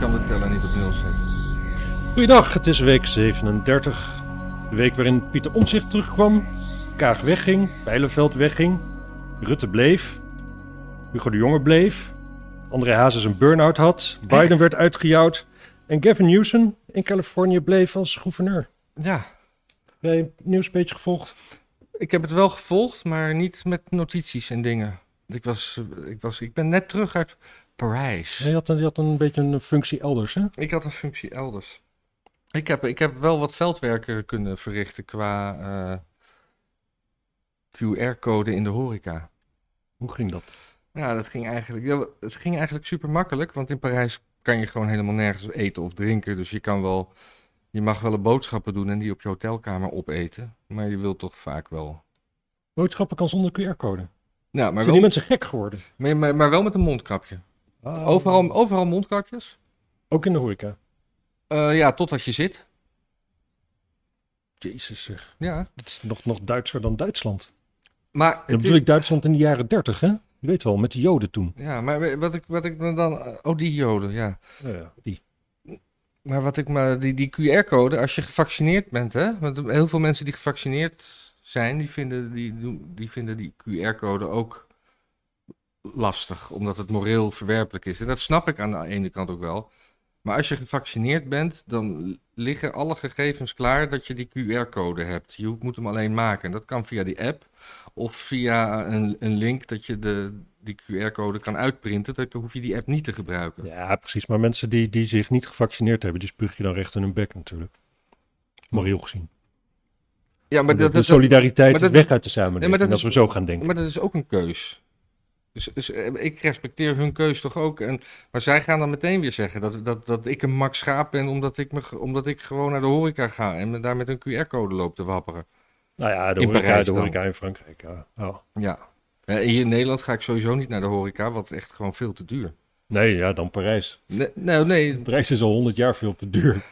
kan de teller niet op nul zetten. Goeiedag, het is week 37. De week waarin Pieter Omzicht terugkwam, Kaag wegging, Bijlenveld wegging, Rutte bleef, Hugo de Jonge bleef, André Hazes een burn-out had, Biden Echt? werd uitgejouwd en Gavin Newsom in Californië bleef als gouverneur. Ja, Nee, het nieuws een beetje gevolgd. ik heb het wel gevolgd, maar niet met notities en dingen. Ik, was, eh, ik, was, ik ben net terug uit Parijs. Hij had, een- die had een beetje een functie elders, hè? Ik had een functie elders. Ik heb, ik heb wel wat veldwerken kunnen verrichten qua eh, QR-code in de horeca. Hoe ging dat? Ja, dat ging eigenlijk, ja, het ging eigenlijk super makkelijk, want in Parijs kan je gewoon helemaal nergens eten of drinken. Dus je kan wel, je mag wel boodschappen doen en die op je hotelkamer opeten. Maar je wilt toch vaak wel. Boodschappen kan zonder QR-code. Nou, maar Zijn wel, die mensen gek geworden? maar, maar, maar wel met een mondkapje. Overal, overal mondkapjes. Ook in de horeca. Eh, ja, totdat je zit. Jezus zeg, Ja. dat is nog, nog Duitser dan Duitsland. Maar Dan het bedoel ik Duitsland in de jaren 30, hè? Je weet wel, met de Joden toen. Ja, maar wat ik, wat ik me dan. Oh, die joden, ja. die. Maar wat ik me. Die, die QR-code, als je gevaccineerd bent, hè? Want heel veel mensen die gevaccineerd zijn, die vinden die, doen- die, vinden die QR-code ook lastig, omdat het moreel verwerpelijk is. En dat snap ik aan de ene kant ook wel. Maar als je gevaccineerd bent, dan liggen alle gegevens klaar dat je die QR-code hebt. Je moet hem alleen maken. En dat kan via die app of via een, een link dat je de, die QR-code kan uitprinten. Dan hoef je die app niet te gebruiken. Ja, precies. Maar mensen die, die zich niet gevaccineerd hebben, die spuug je dan recht in hun bek natuurlijk. Moreel gezien. Ja, Maar de, dat- de dat- dat- solidariteit maar is dat- weg uit de Nee, samenleving maar dat als we is- zo gaan denken. Maar dat is ook een keus. Dus, dus, eh, ik respecteer hun keus toch ook. En, maar zij gaan dan meteen weer zeggen dat, dat, dat ik een Max Schaap ben omdat ik, me, ge- omdat ik gewoon naar de horeca ga en me daar met een QR-code loop te wapperen. nou ja, de in horeca, Parijs de dan. horeca in Frankrijk. Ja. Oh. Ja. Eh, Hier in Nederland ga ik sowieso niet naar de horeca, want het is echt gewoon veel te duur. Nee, ja, dan Parijs. Nee, nou, nee, Parijs is al 100 jaar veel te duur.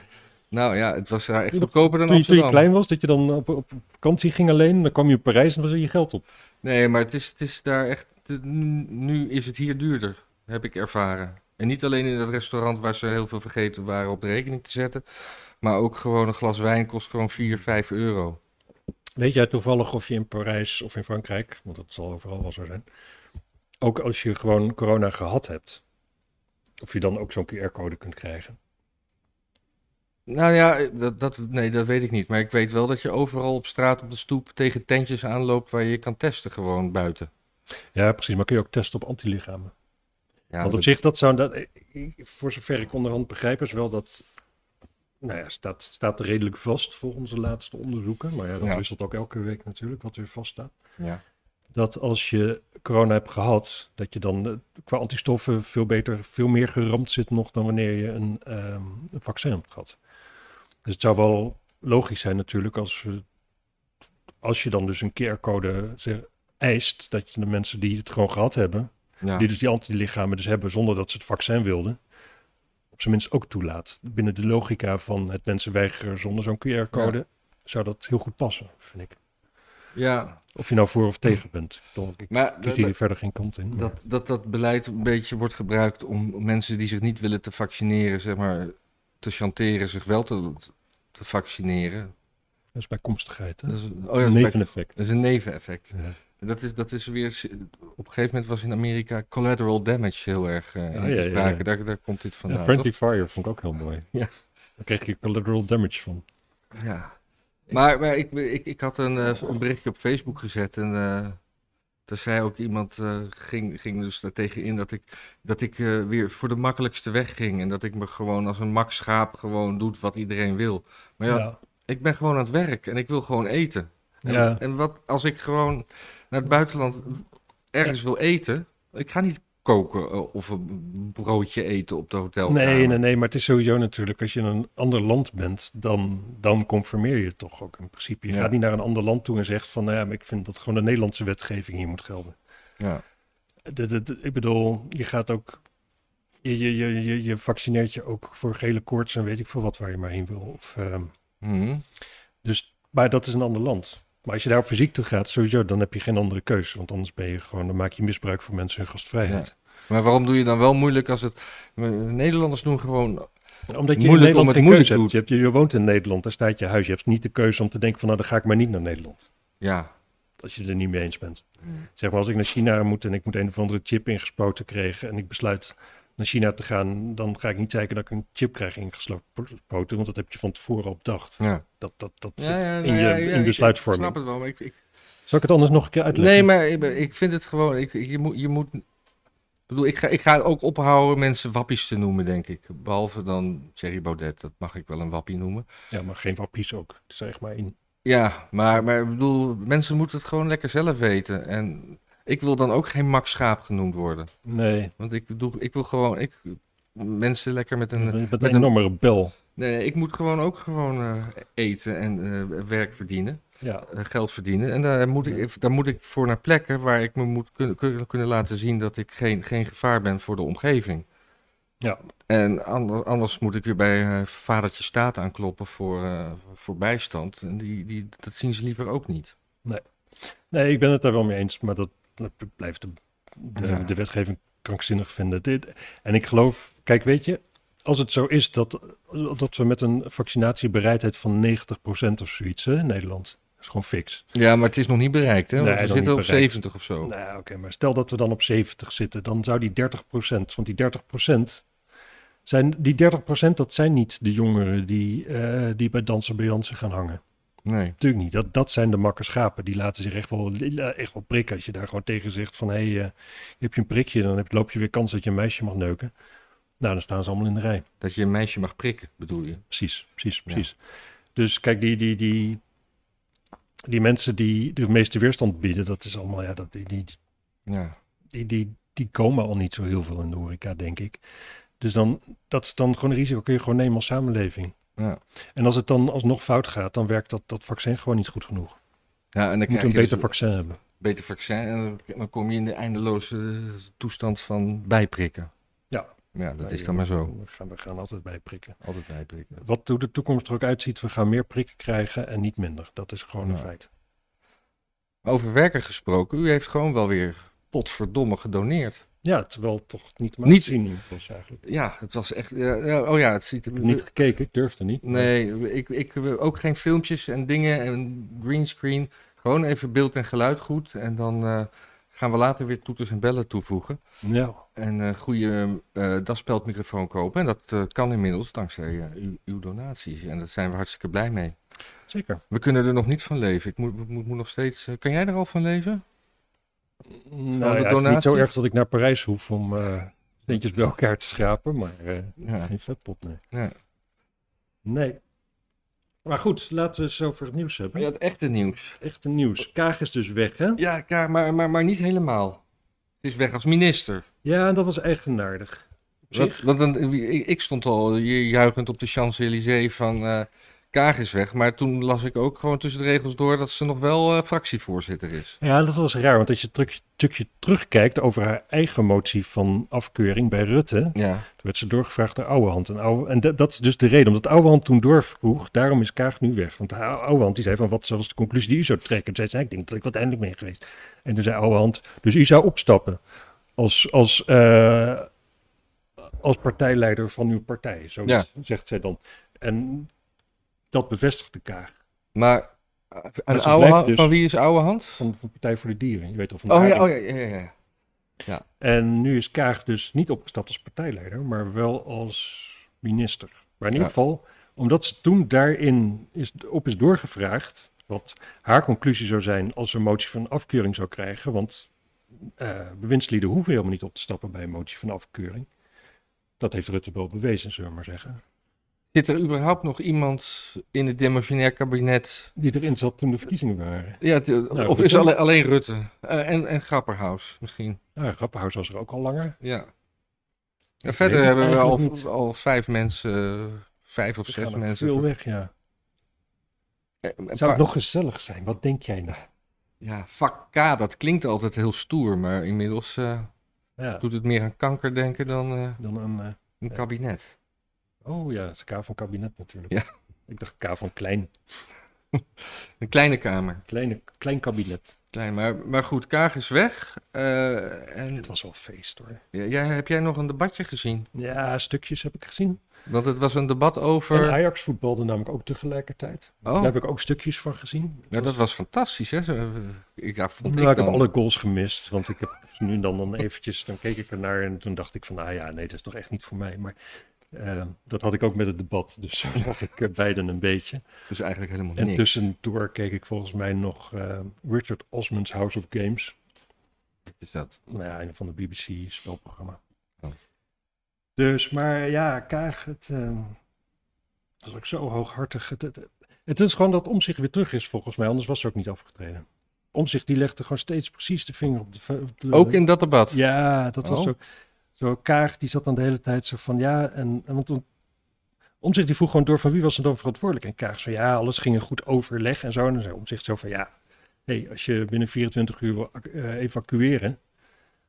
nou ja, het was daar echt Toen- goedkoper dan Toen je, toen je Amsterdam. klein was, dat je dan op, op vakantie ging alleen, dan kwam je in Parijs en was er je geld op. Nee, maar het is, het is daar echt. het- nu- Nu is het hier duurder, heb ik ervaren. En niet alleen in dat restaurant waar ze heel veel vergeten waren op de rekening te zetten. Maar ook gewoon een glas wijn kost gewoon 4, 5 euro. Weet jij toevallig of je in Parijs of in Frankrijk, want dat zal overal wel zo zijn, ook als je gewoon corona gehad hebt, of je dan ook zo'n QR-code kunt krijgen? Nou ja, dat, dat, nee, dat weet ik niet. Maar ik weet wel dat je overal op straat, op de stoep, tegen tentjes aanloopt waar je je kan testen gewoon buiten. Ja, precies, maar kun je ook testen op antilichamen? Ja, want op dat- zich, dat zou, dat, ik- voor zover ik onderhand begrijp, is wel dat, nou ja, staat, staat redelijk vast voor onze laatste onderzoeken, maar ja, dat Ja. wisselt ook elke week natuurlijk wat weer vaststaat. ja. Dat als je corona hebt gehad, dat je dan eh, qua antistoffen veel beter, veel meer geramd zit nog dan wanneer je een, ehm, een vaccin hebt gehad. Dus het zou wel logisch zijn natuurlijk als, we- als je dan dus een QR-code zeg- eist, dat je de mensen die het gewoon gehad hebben, Ja. die dus die antilichamen dus hebben zonder dat ze het vaccin wilden, op zijn minst ook toelaat. Binnen de logica van het mensen weigeren zonder zo'n QR-code, zou dat heel goed passen, vind ik. ja. Of je nou voor of tegen bent. Toch, ik Maar kies hier verder geen kant in. maar- dat, dat dat beleid een beetje wordt gebruikt om mensen die zich niet willen te vaccineren, zeg maar, te chanteren zich wel te, te vaccineren. Dat is bijkomstigheid. Hè? Dat is, oh ja, dat is, bij- neveneffect. dat is een neveneffect. Ja. Dat is, dat is weer, s- op een gegeven moment was in Amerika collateral damage heel erg eh, in Ah, ja, ja, sprake. ja. Daar, daar komt dit vandaan. Ja, friendly fire vond ik ook heel mooi. Ja. Daar kreeg je collateral damage van. toch? Ja. Maar, maar ik, ik, ik had een, eh, een berichtje op Facebook gezet en eh daar zei ook iemand, eh, ging, ging dus daartegen in dat ik, dat ik eh, weer voor de makkelijkste weg ging. En dat ik me gewoon als een max schaap gewoon doet wat iedereen wil. Maar ja, ja. ik ben gewoon aan het werk en ik wil gewoon eten. En, Ja. en wat als ik gewoon naar het buitenland ergens wil eten? Ik ga niet koken eh, of een broodje eten op de hotel. Nee, nee, nee, maar het is sowieso natuurlijk, als je in een ander land bent, dan, dan conformeer je toch ook in principe. Je Ja. gaat niet naar een ander land toe en zegt van, nou ja, maar ik vind dat gewoon de Nederlandse wetgeving hier moet gelden. Ja. De, de- de- ik bedoel, je gaat ook, je, je, je, je, je vaccineert je ook voor gele koorts en weet ik veel wat waar je maar heen wil. Of, ehm, Mhm. Dus, maar dat is een ander land. Maar als je daar op fysiek toe gaat, sowieso, dan heb je geen andere keus. Want anders ben je gewoon, dan maak je misbruik van mensen hun gastvrijheid. Maar waarom doe je dan wel moeilijk als het... Nederlanders doen gewoon... Omdat je Moeilijk om in Nederland het geen moeilijk keuze hebt. doet. Je, hebt- je, je woont in Nederland, daar staat je huis. Je hebt niet de keuze om te denken van nou, dan ga ik maar niet naar Nederland. Ja, Als je het er niet mee eens bent. Mm. Zeg maar, als ik naar China moet en ik moet een of andere chip ingespoten krijgen en ik besluit naar China te gaan, dan ga ik niet zeker dat ik een chip krijg ingespoten, want dat heb je van tevoren al bedacht. ja. Dat, dat, dat ja, zit ja, in nou je ja, in ja, je ik- besluitvorming. Ik snap het wel, maar ik, ik- Zal ik het anders nog een keer uitleggen? Nee, maar ik, ik vind het gewoon... Ik, ik- je, moet, je moet... Ik bedoel, ik ga, ik ga ook ophouden mensen wappies te noemen, denk ik. Behalve dan Thierry Baudet, dat mag ik wel een wappie noemen. Ja, maar geen wappies ook. Het is echt maar in. Ja, maar, maar ik bedoel, mensen moeten het gewoon lekker zelf weten. En ik wil dan ook geen Max Schaap genoemd worden. Nee, Want ik, doe, ik wil gewoon ik, mensen lekker met een... met, met een een enorme rebel. nee, nee, ik moet gewoon ook gewoon eh, eten en eh, werk verdienen. Ja, eh, geld verdienen. En daar moet, ik, daar moet ik voor naar plekken waar ik me moet kunnen, kunnen, kunnen laten zien... dat ik geen, geen gevaar ben voor de omgeving. Ja. En ander- anders moet ik weer bij eh, vadertje staat aankloppen voor, eh, voor bijstand. En die, die, dat zien ze liever ook niet. nee, ik ben het daar wel mee eens, maar dat dat blijft de, de, Ja. de wetgeving krankzinnig vinden. Dit, en ik geloof, kijk, weet je, als het zo is dat, dat we met een vaccinatiebereidheid van 90% of zoiets hè, in Nederland, dat is gewoon fix. Ja, maar het is nog niet bereikt, hè? Nee, Want hij we is zitten nog op niet bereikt. 70 of zo. Nou, oké, maar stel dat we dan op 70 zitten, dan zou die 30%, want die 30% zijn, die 30% dat zijn niet de jongeren die, eh, die bij dansen bij Jansen gaan hangen. Nee. Natuurlijk niet. Dat, dat zijn de makke schapen. Die laten zich echt wel, eh, echt wel prikken. Als je daar gewoon tegen zegt van... hé, hey, eh, heb je een prikje... dan heb, loop je weer kans dat je een meisje mag neuken. Nou, dan staan ze allemaal in de rij. Dat je een meisje mag prikken, bedoel je? Precies, precies, precies. Dus kijk, die, die, die, die mensen die de meeste weerstand bieden... dat is allemaal... Ja, dat, die, die, Ja. die, die, die komen al niet zo heel veel in de horeca, denk ik. Dus dan, dat is dan gewoon een risico. Kun je gewoon nemen als samenleving. Ja, En als het dan alsnog fout gaat... dan werkt dat, dat vaccin gewoon niet goed genoeg. ja en dan Je moet krijg een je dus beter vaccin hebben. beter vaccin en dan- dan kom je in de eindeloze eh, toestand van bijprikken. Ja. Ja, dat Nee, is dan maar zo. We gaan, we gaan altijd bij prikken. Altijd bijprikken. Wat hoe de toekomst er ook uitziet, we gaan meer prikken krijgen en niet minder. Dat is gewoon een Ja. feit. Over werken gesproken, u heeft gewoon wel weer potverdomme gedoneerd. Ja, terwijl toch niet maar Niet- zien was eigenlijk. Ja, het was echt... ja, ja, oh ja, het ziet er... Niet gekeken, ik durfde niet. Nee, ik, ik, ook geen filmpjes en dingen en greenscreen. Gewoon even beeld en geluid goed. En dan eh, gaan we later weer toeters en bellen toevoegen. Ja, En een goede eh daspeldmicrofoon kopen. En dat eh, kan inmiddels dankzij eh, uw, uw donaties. En daar zijn we hartstikke blij mee. zeker. We kunnen er nog niet van leven. Ik moet, moet, moet nog steeds... eh, kan jij er al van leven? Nou, ja, het is niet donatie? zo erg dat ik naar Parijs hoef om eh centjes bij elkaar te schrapen, maar eh, het is Ja. geen vetpot, nee. Ja. Nee. Maar goed, laten we het eens over het nieuws hebben. Maar ja, het echte nieuws. Echte nieuws. Kaag is dus weg, hè? Ja, ja, maar, maar, maar niet helemaal. Het is weg als minister. Ja, en dat was eigenaardig. Op Want, zich. want dan, eh, ik, ik stond al eh, ju- juichend op de Champs-Élysées van eh Kaag is weg. Maar toen las ik ook gewoon tussen de regels door dat ze nog wel eh, fractievoorzitter is. Ja, dat was raar, want als je het stukje- stukje terugkijkt over haar eigen motie van afkeuring bij Rutte, toen Ja, werd ze doorgevraagd naar Ouwehand. En, Ouwe, en dat- dat is dus de reden, omdat Ouwehand toen doorvroeg, daarom is Kaag nu weg. Want Ou- Ouwehand die zei van, wat was de conclusie die u zou trekken? En zij zei, ik denk dat ik wat eindelijk ben geweest. En toen zei Ouwehand, dus u zou opstappen als, als, eh, als partijleider van uw partij, zo Ja. zegt zij dan. En dat bevestigde Kaag. maar eh, Maar een ze oude, blijft hand- dus- van wie is oude hand? Van, van Partij voor de Dieren, je weet al van de Oh ja, ARIP. oh ja, ja, ja, ja. En nu is Kaag dus niet opgestapt als partijleider, maar wel als minister. Maar in ieder Ja. geval, omdat ze toen daarin is, op is doorgevraagd, wat haar conclusie zou zijn als ze een motie van afkeuring zou krijgen, want eh, bewindslieden hoeven helemaal niet op te stappen bij een motie van afkeuring. Dat heeft Rutte wel bewezen, zullen we maar zeggen. Zit er überhaupt nog iemand in het demissionair kabinet? Die erin zat toen de verkiezingen waren. Ja, het- of Rutte. is alle- alleen Rutte? Eh, en, en Grapperhaus misschien. Ja, Grappenhuis was er ook al langer. Ja. En weet verder het hebben we eigenlijk niet. al, al vijf mensen, eh, vijf of Er zes gaan er mensen. veel voor- weg, ja. eh, een Zou paar- het nog gezellig zijn? Wat denk jij nou? Ja, vak K, dat klinkt altijd heel stoer, maar inmiddels eh, Ja, doet het meer aan kanker denken dan eh, dan een... eh, een Ja. kabinet. Oh ja, dat is K van kabinet natuurlijk. Ja. Ik dacht K van klein, Een kleine kamer. kleine, klein kabinet. Klein, maar, maar goed, Kaag is weg. eh, en Het was wel feest hoor. Ja, jij- heb jij nog een debatje gezien? Ja, stukjes heb ik gezien. Want het was een debat En over. Ajax voetbalde namelijk ook tegelijkertijd. Oh, Daar heb ik ook stukjes van gezien. nou, dat was fantastisch, hè? Zo, eh, Ik, ja, vond Nou, ik ik heb dan. alle goals gemist, want ik heb ze nu en dan, dan eventjes, dan keek ik ernaar en toen dacht ik van, ah ja, nee, dat is toch echt niet voor mij. Maar eh, dat had ik ook met het debat, dus zo zag ik er beiden een beetje. Dus eigenlijk helemaal En niks. tussendoor keek ik volgens mij nog eh, Richard Osman's House of Games, Wat is dat? nou ja, een van de BBC spelprogramma. Oh. Dus, maar ja, Kaag, het eh, was ook zo hooghartig. Het, het, het is gewoon dat Omzicht weer terug is volgens mij, anders was ze ook niet afgetreden. Omzicht die legde gewoon steeds precies de vinger op de... ve- op de- Ook in dat debat. ja, dat was Oh. zo. Zo Kaag, die zat dan de hele tijd zo van ja. En, en want toen. Omzicht die vroeg gewoon door van wie was er dan verantwoordelijk? En Kaag zo ja, alles ging in goed overleg en zo. En dan zei Omzicht zo van ja, hey, als je binnen 24 uur wil ac- eh, evacueren,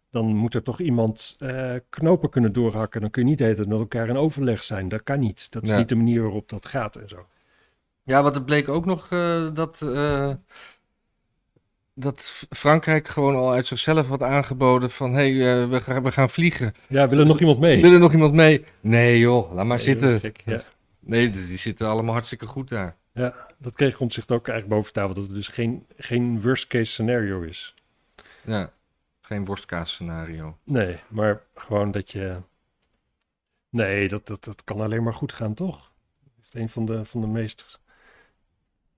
dan moet er toch iemand eh, knopen kunnen doorhakken. Dan kun je niet de hele tijd met elkaar in overleg zijn. Dat kan niet. Dat is Ja. niet de manier waarop dat gaat en zo. Ja, want het bleek ook nog eh, dat. eh, dat F- Frankrijk gewoon al uit zichzelf had aangeboden van... hé, hey, eh, we, gaan, we gaan vliegen. Ja, wil er nog iemand mee? Wil er nog iemand mee? Nee joh, laat maar zitten. Gek, ja. Nee, die die zitten allemaal hartstikke goed daar. ja, dat kreeg Omzicht ook eigenlijk boven tafel. Dat het dus geen, geen worst case scenario is. Ja, geen worstkaas scenario. Nee, maar gewoon dat je. Nee, dat, dat, dat kan alleen maar goed gaan, toch? Echt een van de, van de meest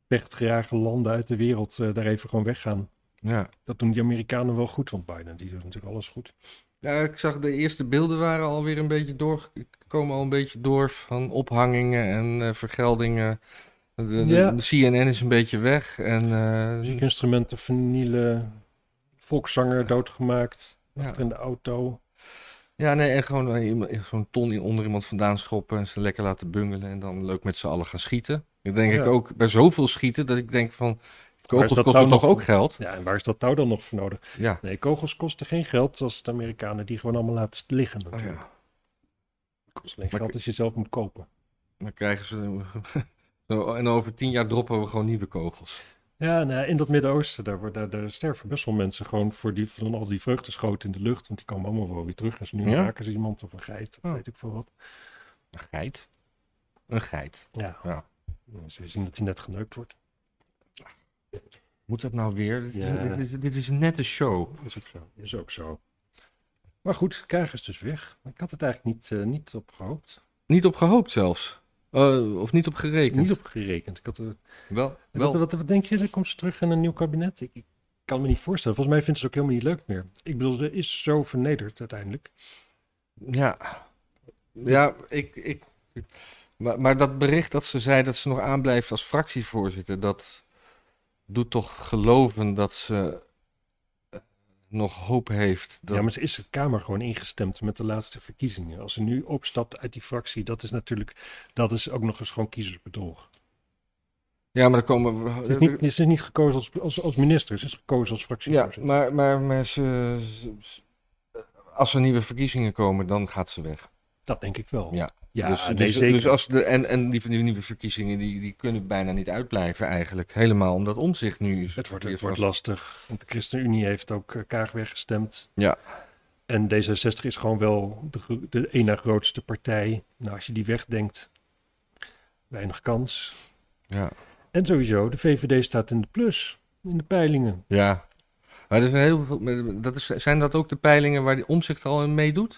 weggejaagde landen uit de wereld eh, daar even gewoon weggaan. Ja. Dat doen die Amerikanen wel goed, want Biden die doet natuurlijk alles goed. Ja, ik zag de eerste beelden waren alweer een beetje door, komen al een beetje door van ophangingen en eh, vergeldingen. De, de- Ja. de CNN is een beetje weg en eh, Muziekinstrumenten vernielen, volkszanger doodgemaakt, Ja. achter in de auto. ja, nee, en gewoon eh, iemand- zo'n ton in- onder iemand vandaan schoppen en ze lekker laten bungelen en dan leuk met z'n allen gaan schieten. Ik denk Ja. ik ook bij zoveel schieten dat ik denk van kogels kosten dat nou toch nog- ook geld. Ja, en waar is dat touw dan nog voor nodig? Ja. Nee, kogels kosten geen geld, zoals de Amerikanen die gewoon allemaal laten liggen natuurlijk. Kost alleen Oh Maar geld ik- als je zelf moet kopen. Dan krijgen ze zo- en over tien jaar droppen we gewoon nieuwe kogels. Ja, nou, in dat Midden-Oosten, daar, wordt- daar, daar sterven best wel mensen gewoon voor die, van al die vreugdeschoten in de lucht. Want die komen allemaal wel weer terug. En ze nu Ja? raken ze iemand of een geit, of Oh. weet ik veel wat. Een geit. Een geit. Ja. Ja. Ze zien dat hij net geneukt wordt. Moet dat nou weer? Dit, Ja. dit is, dit is net een show. Is ook zo. Is ook zo. Maar goed, Kaag is dus weg. Ik had het eigenlijk niet, eh, niet op gehoopt. Niet op gehoopt zelfs. Eh, of niet op gerekend. Niet op gerekend. Ik had, er- Wel, wel. wat, wat, wat denk je, dan komt ze terug in een nieuw kabinet? Ik, ik kan me niet voorstellen. Volgens mij vindt ze het ook helemaal niet leuk meer. Ik bedoel, ze is zo vernederd uiteindelijk. Ja. Ja, ik... ik maar, maar dat bericht dat ze zei dat ze nog aanblijft als fractievoorzitter... dat doet toch geloven dat ze eh, nog hoop heeft. Dat... Ja, maar ze is de Kamer gewoon ingestemd met de laatste verkiezingen. Als ze nu opstapt uit die fractie, dat is natuurlijk, dat is ook nog eens gewoon kiezersbedrog. Ja, maar dan komen we... Ze is niet, ze is niet gekozen als, als, als minister, ze is gekozen als Ja, fractievoorzitter. maar, maar, maar ze, ze- ze- als er nieuwe verkiezingen komen, dan gaat ze weg. Dat denk ik wel. Ja, ja dus, nee, dus, zeker. dus als de, en, en die, die nieuwe verkiezingen die, die kunnen bijna niet uitblijven eigenlijk. Helemaal omdat omzicht nu. het wordt, weer het wordt vast- lastig, want de ChristenUnie heeft ook eh, Kaag weggestemd. Ja. En D66 is gewoon wel de, gro- de ene grootste partij. Nou, als je die wegdenkt, weinig kans. Ja. En sowieso, de VVD staat in de plus, in de peilingen. ja. Maar er zijn heel veel, maar dat is, zijn dat ook de peilingen waar die omzicht al in meedoet?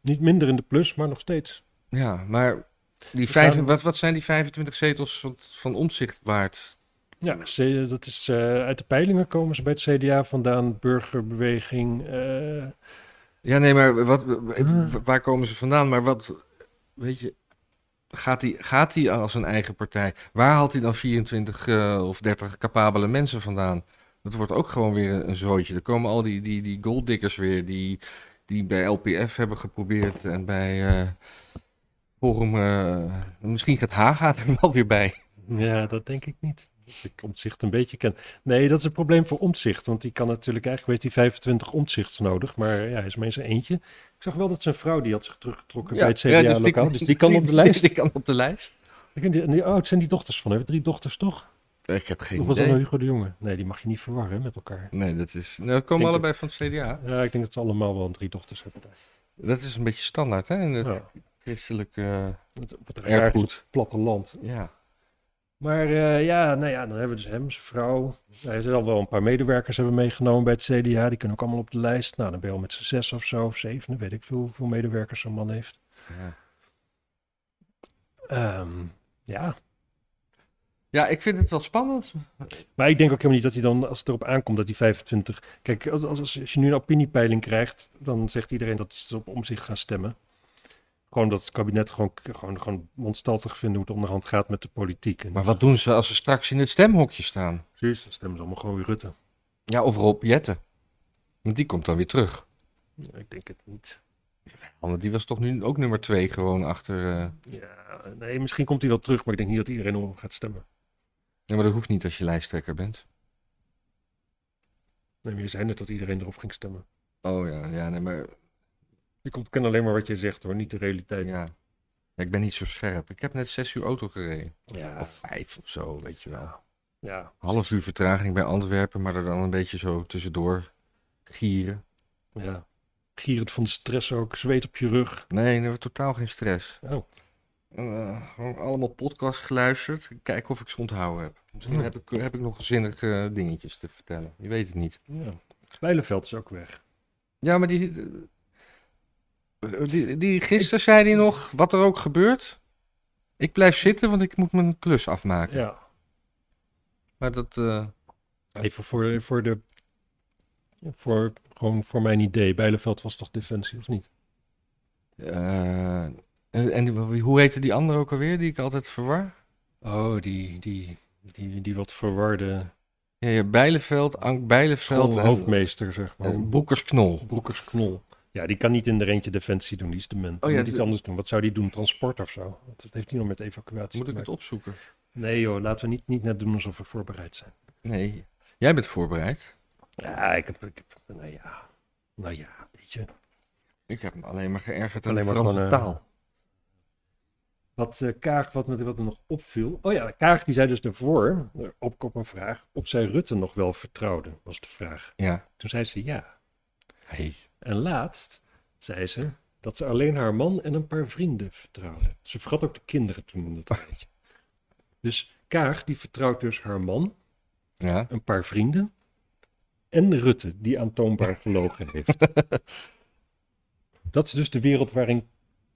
Niet minder in de plus, maar nog steeds. Ja, maar die We vijf, gaan- wat, wat zijn die 25 zetels van, van omzicht waard? Ja, ze- dat is, eh, uit de peilingen komen ze bij het CDA vandaan, burgerbeweging. eh, Ja, nee, maar wat, Ah. waar komen ze vandaan? Maar wat, weet je, gaat hij gaat die als een eigen partij? Waar haalt hij dan 24 eh, of 30 capabele mensen vandaan? Dat wordt ook gewoon weer een zootje. Er komen al die, die, die golddiggers weer, die, die bij LPF hebben geprobeerd en bij eh Forum. eh, misschien gaat Haga er wel weer bij. ja, dat denk ik niet. Als ik omzicht een beetje ken. Nee, dat is een probleem voor omzicht. Want die kan natuurlijk eigenlijk, weet hij, 25 omzichts nodig. Maar ja, hij is maar in zijn eentje. Ik zag wel dat zijn vrouw, die had zich teruggetrokken bij het dus CDA-lokaal. dus, die kan op de lijst. Die kan op de lijst. Ik weet niet, en die- oh, het zijn die dochters van hem. Drie dochters, toch? Ik heb geen Of was dat nou idee. Hugo de Jonge? Nee, die mag je niet verwarren met elkaar. Nee, dat is... Nou, dat komen Denk allebei van het CDA. Ja, ik denk dat ze allemaal wel drie dochters hebben. daar. Dat is een beetje standaard, hè? In het Ja, christelijke... eh, wat- wat er Erg erg goed. goed. Platteland. ja. Maar eh, ja, nou ja, dan hebben we dus hem, zijn vrouw. Hij zal wel een paar medewerkers hebben meegenomen bij het CDA. Die kunnen ook allemaal op de lijst. Nou, dan ben je al met z'n zes of zo, of zeven. Dan weet ik veel hoeveel medewerkers zo'n man heeft. ja. Ehm, ja, Ja, ik vind het wel spannend. maar ik denk ook helemaal niet dat hij dan, als het erop aankomt, dat hij 25... Kijk, als, als, als je nu een opiniepeiling krijgt, dan zegt iedereen dat ze op om zich gaan stemmen. Gewoon dat het kabinet gewoon, gewoon, gewoon ontstaltig vinden hoe het onderhand gaat met de politiek. En Maar wat doen ze als ze straks in het stemhokje staan? Precies, dan stemmen ze allemaal gewoon weer Rutte. Ja, of Rob Jetten. Want die komt dan weer terug. Ik denk het niet. Want die was toch nu ook nummer twee gewoon achter... eh, Ja, nee, misschien komt hij wel terug, maar ik denk niet dat iedereen om hem gaat stemmen. Nee, maar dat hoeft niet als je lijsttrekker bent. Nee, maar je zei net dat iedereen erop ging stemmen. Oh ja, ja, nee, maar... Ik ontken alleen maar wat je zegt hoor, niet de realiteit. Ja. Ja, ik ben niet zo scherp. Ik heb net zes uur auto gereden. Ja, Of vijf of zo, weet je wel. ja. Half uur vertraging bij Antwerpen, maar er dan een beetje zo tussendoor gieren. ja. Gierend van de stress ook, zweet op je rug. Nee, er was totaal geen stress. Oh. Eh, gewoon allemaal podcasts geluisterd. Kijken of ik ze onthouden heb. Misschien Hmm. heb, ik, heb ik nog zinnige eh, dingetjes te vertellen. Je weet het niet. Ja. Bijleveld is ook weg. Ja, maar die... eh, Die, die gisteren zei hij nog, wat er ook gebeurt. Ik blijf zitten, want ik moet mijn klus afmaken. Ja. Maar dat... eh, Even voor, voor de. Voor, gewoon voor mijn idee. Bijleveld was toch defensie, of niet? Eh, en die- hoe heette die andere ook alweer, die ik altijd verwar? Oh, die, die, die, die wat verwarde. Ja, ja Bijleveld, Ank Bijleveld en, hoofdmeester, zeg maar. en Boekersknol. Broekersknol. Ja, die kan niet in de eentje defensie doen, die is dement. Oh Oh, ja, moet iets de- anders doen. Wat zou die doen? Transport of zo? Want Dat heeft hij nog met evacuatie Moet te ik het maken. opzoeken? Nee joh, laten we niet, niet net doen alsof we voorbereid zijn. Nee, jij bent voorbereid. Ja, ik heb... Ik heb nou ja, nou ja, weet je. Ik heb me alleen maar geërgerd aan Alleen maar de Franse gewoon, eh, taal. Wat eh, Kaag, wat, me- wat er nog opviel... Oh ja, Kaag die zei dus daarvoor, eh, op op een vraag... of zij Rutte nog wel vertrouwde, was de vraag. Ja, Toen zei ze ja. hey. En laatst zei ze dat ze alleen haar man en een paar vrienden vertrouwde. Ze vergat ook de kinderen toen in dat tijdje. Dus Kaag, die vertrouwt dus haar man, ja. een paar vrienden en Rutte, die aantoonbaar gelogen heeft. Dat is dus de wereld waarin...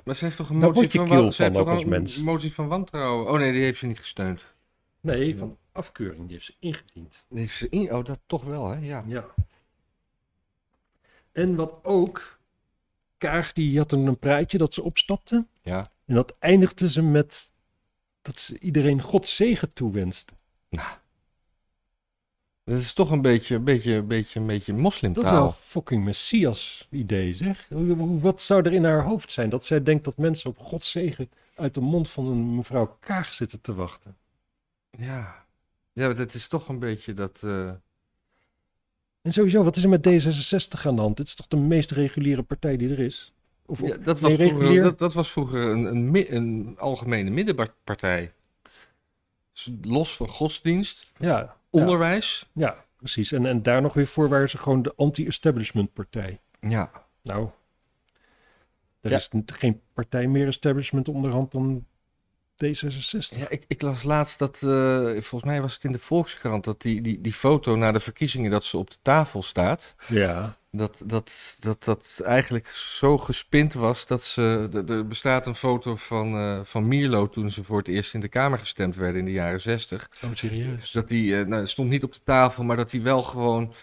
Maar ze heeft toch een Daar motie word je van, kiel wan- ze van heeft ook toch als een mens. motie van wantrouwen? Oh nee, die heeft ze niet gesteund. Nee, van afkeuring, die heeft ze ingediend. Die heeft ze in- Oh, dat toch wel, hè? Ja. Ja. En wat ook, Kaag die had een praatje dat ze opstapte. ja. En dat eindigde ze met dat ze iedereen Gods zegen toewenst. Nou. Dat is toch een beetje, een beetje, een beetje, een beetje Dat is wel moslimtaal. een fucking messias-idee, zeg. Hoe- hoe- Wat zou er in haar hoofd zijn dat zij denkt dat mensen op Gods zegen uit de mond van een mevrouw Kaag zitten te wachten? Ja. Ja, maar dat is toch een beetje dat... eh, En sowieso, wat is er met D66 aan de hand? Dit is toch de meest reguliere partij die er is? Of, of Ja, dat, was nee, vroeger, regulier? dat, dat was vroeger een, een, mi- een algemene middenpartij. Dus Los van godsdienst, Ja, ja, onderwijs. ja, precies. En, en daar nog weer voor waren ze gewoon de anti-establishment partij. Ja. Nou, er Ja. is n- geen partij meer establishment onderhand dan D66. ja ik, ik las laatst dat, eh, volgens mij was het in de Volkskrant, dat die, die, die foto na de verkiezingen dat ze op de tafel staat, Ja. dat dat, dat, dat eigenlijk zo gespind was dat ze. d- Er bestaat een foto van, eh, van Mierlo toen ze voor het eerst in de Kamer gestemd werden in de jaren zestig. Oh, serieus? Dus dat die, eh, nou, het stond niet op de tafel, maar dat hij wel gewoon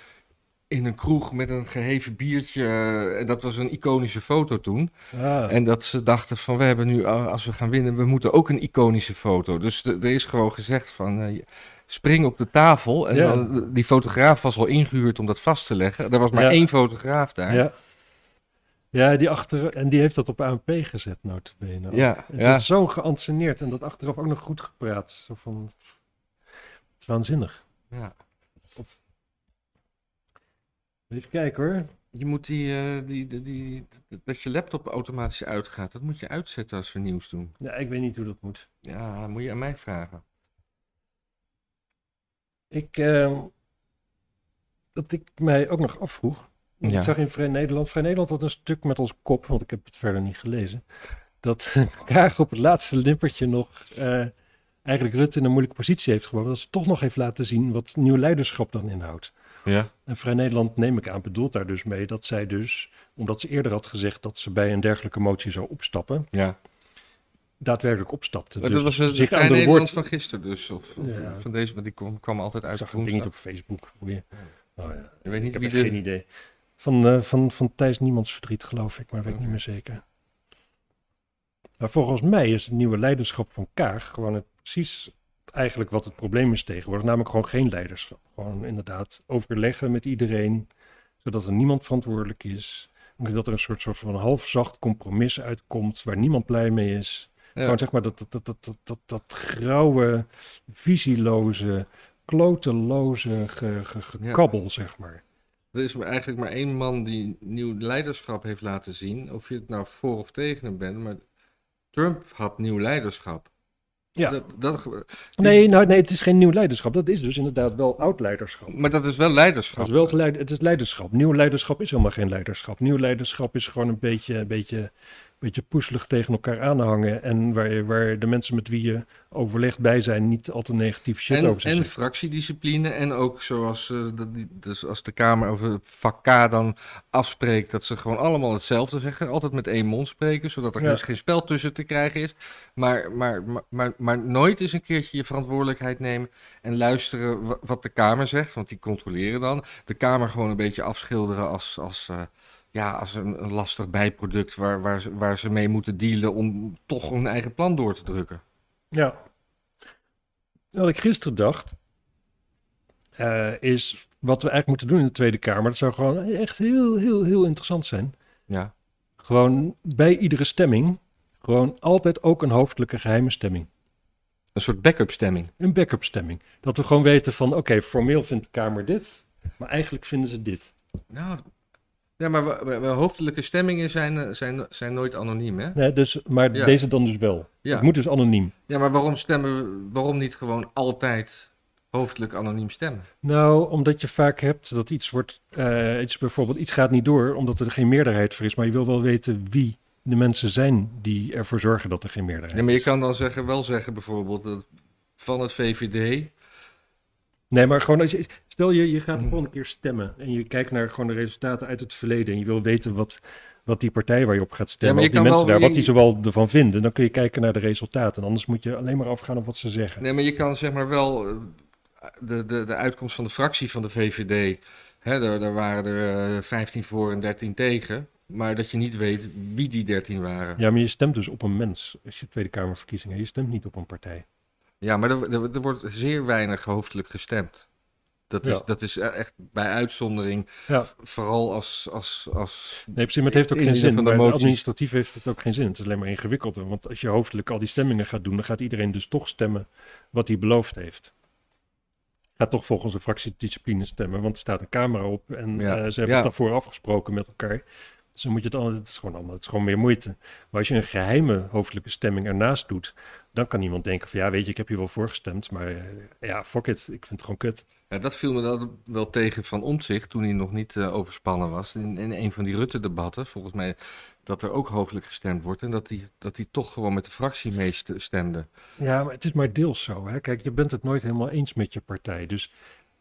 in een kroeg met een geheven biertje. eh, en dat was een iconische foto toen. Ah. En dat ze dachten van we hebben nu, ah, als we gaan winnen, we moeten ook een iconische foto. Dus de- er is gewoon gezegd van eh, spring op de tafel. En Ja. dan- die fotograaf was al ingehuurd om dat vast te leggen. Er was maar Ja. één fotograaf daar. Ja, Ja. Ja, die achter, en die heeft dat op ANP gezet, notabene. ja, Het is zo geanceneerd en dat achteraf ook nog goed gepraat. Zo van, het is waanzinnig. ja. Even kijken hoor. Je moet die, eh, die, die, die, dat je laptop automatisch uitgaat, dat moet je uitzetten als we nieuws doen. Ja, ik weet niet hoe dat moet. Ja, moet je aan mij vragen. Ik, ehm, dat ik mij ook nog afvroeg. want Ja. Ik zag in Vrij Nederland. Vrij Nederland had een stuk met ons kop, want ik heb het verder niet gelezen. Dat Kaag op het laatste limpertje nog eh, eigenlijk Rutte in een moeilijke positie heeft gebracht. Dat ze toch nog heeft laten zien wat nieuw leiderschap dan inhoudt. Ja. En Vrij Nederland, neem ik aan, bedoelt daar dus mee dat zij dus, omdat ze eerder had gezegd dat ze bij een dergelijke motie zou opstappen, ja. daadwerkelijk opstapte. Maar Dus dat was het zich Vrij aan de Nederland woord. van gisteren dus. Of of Ja. van deze, want die kwam, kwam altijd Ik uit zag het woensdag. dingetje op Facebook. Boeien. Oh ja. Ik weet niet Ik wie heb de... echt geen idee. Van, eh, van, van Thijs Niemands Verdriet, geloof ik, maar weet ik niet Oké. meer zeker. Maar volgens mij is het nieuwe leiderschap van Kaag gewoon het, precies eigenlijk wat het probleem is tegenwoordig. Namelijk gewoon geen leiderschap. Gewoon inderdaad overleggen met iedereen, zodat er niemand verantwoordelijk is. Dat er een soort, soort van halfzacht compromis uitkomt waar niemand blij mee is. Ja. Gewoon zeg maar dat, dat, dat, dat, dat, dat, dat grauwe, visieloze, kloteloze ge- ge- gekabbel, zeg maar. Er is maar eigenlijk maar één man die nieuw leiderschap heeft laten zien. Of je het nou voor of tegen hem bent, maar Trump had nieuw leiderschap. Ja. Dat, dat, ge- Nee, nou, nee, het is geen nieuw leiderschap. Dat is dus inderdaad wel oud leiderschap. maar dat is wel Het leiderschap. is, wel geleid, het is leiderschap. Nieuw leiderschap is helemaal geen leiderschap. Nieuw leiderschap is gewoon een beetje, een beetje, een beetje poeselig tegen elkaar aanhangen. En waar, je- waar de mensen met wie je overlegt bij zijn niet al te negatief shit En, over ze en zeggen. fractiediscipline. En ook zoals eh, dat die- dus als de Kamer of het vak K dan afspreekt dat ze gewoon allemaal hetzelfde zeggen. Altijd met één mond spreken, zodat er Ja. geen- geen spel tussen te krijgen is. Maar, maar, maar, maar, maar nooit eens een keertje je verantwoordelijkheid nemen en luisteren wa- wat de Kamer zegt. Want die controleren dan. De Kamer gewoon een beetje afschilderen als. als eh, ja, als een, een lastig bijproduct waar, waar, ze, waar ze mee moeten dealen om toch hun eigen plan door te drukken. Ja. Wat ik gisteren dacht, eh, is wat we eigenlijk moeten doen in de Tweede Kamer. Dat zou gewoon echt heel, heel, heel interessant zijn. Ja, Gewoon bij iedere stemming, gewoon altijd ook een hoofdelijke geheime stemming. een soort backup stemming. Een backup stemming. Dat we gewoon weten van, oké, formeel vindt de Kamer dit, maar eigenlijk vinden ze dit. Nou, ja, maar we, we- we- hoofdelijke stemmingen zijn, eh, zijn, zijn nooit anoniem, hè? Nee, dus, maar Ja. deze dan dus wel. Ja. Het moet dus anoniem. ja, maar waarom stemmen we, waarom niet gewoon altijd hoofdelijk anoniem stemmen? Nou, omdat je vaak hebt dat iets wordt, eh, iets, bijvoorbeeld iets gaat niet door omdat er geen meerderheid voor is, maar je wil wel weten wie de mensen zijn die ervoor zorgen dat er geen meerderheid Ja, maar je kan dan zeggen, wel zeggen bijvoorbeeld dat van het VVD. Nee, maar gewoon als je, stel je, je Mm. gaat de volgende keer stemmen en je kijkt naar gewoon de resultaten uit het verleden en je wil weten wat, wat die partij waar je op gaat Ja, stemmen, maar of je die kan wel- mensen daar, wat je- die zowel ervan vinden, dan kun je kijken naar de resultaten. Anders moet je alleen maar afgaan op wat ze zeggen. Nee, maar je kan zeg maar wel eh, de, de, de uitkomst van de fractie van de VVD. Hè, daar, daar waren er eh, 15 voor en 13 tegen. Maar dat je niet weet wie die 13 waren. Ja, maar je stemt dus op een mens als je Tweede Kamerverkiezingen. Je stemt niet op een partij. Ja, maar er, er- er wordt zeer weinig hoofdelijk gestemd. Dat is, Ja. dat is eh, echt bij uitzondering. Ja. V- Vooral als, als, als. Nee, precies, maar het heeft ook In geen ieder zin. van de Maar moties. administratief heeft het ook geen zin. Het is alleen maar ingewikkelder. Want als je hoofdelijk al die stemmingen gaat doen, dan gaat iedereen dus toch stemmen wat hij beloofd heeft. Gaat toch volgens de fractiediscipline stemmen, want er staat een camera op en Ja. eh, ze hebben Ja. het daarvoor afgesproken met elkaar. Dus dan moet je het allemaal, het is gewoon allemaal, het is gewoon meer moeite. Maar als je een geheime hoofdelijke stemming ernaast doet, dan kan iemand denken van ja, weet je, ik heb hier wel voor gestemd, maar eh, ja, fuck it, ik vind het gewoon kut. Ja, dat viel me dan wel tegen van Omtzigt toen hij nog niet eh, overspannen was. In, in een van die Rutte-debatten, volgens mij, dat er ook hoofdelijk gestemd wordt. En dat hij dat die toch gewoon met de fractie meestemde. Ja, maar het is maar deels zo. Hè? Kijk, je bent het nooit helemaal eens met je partij. Dus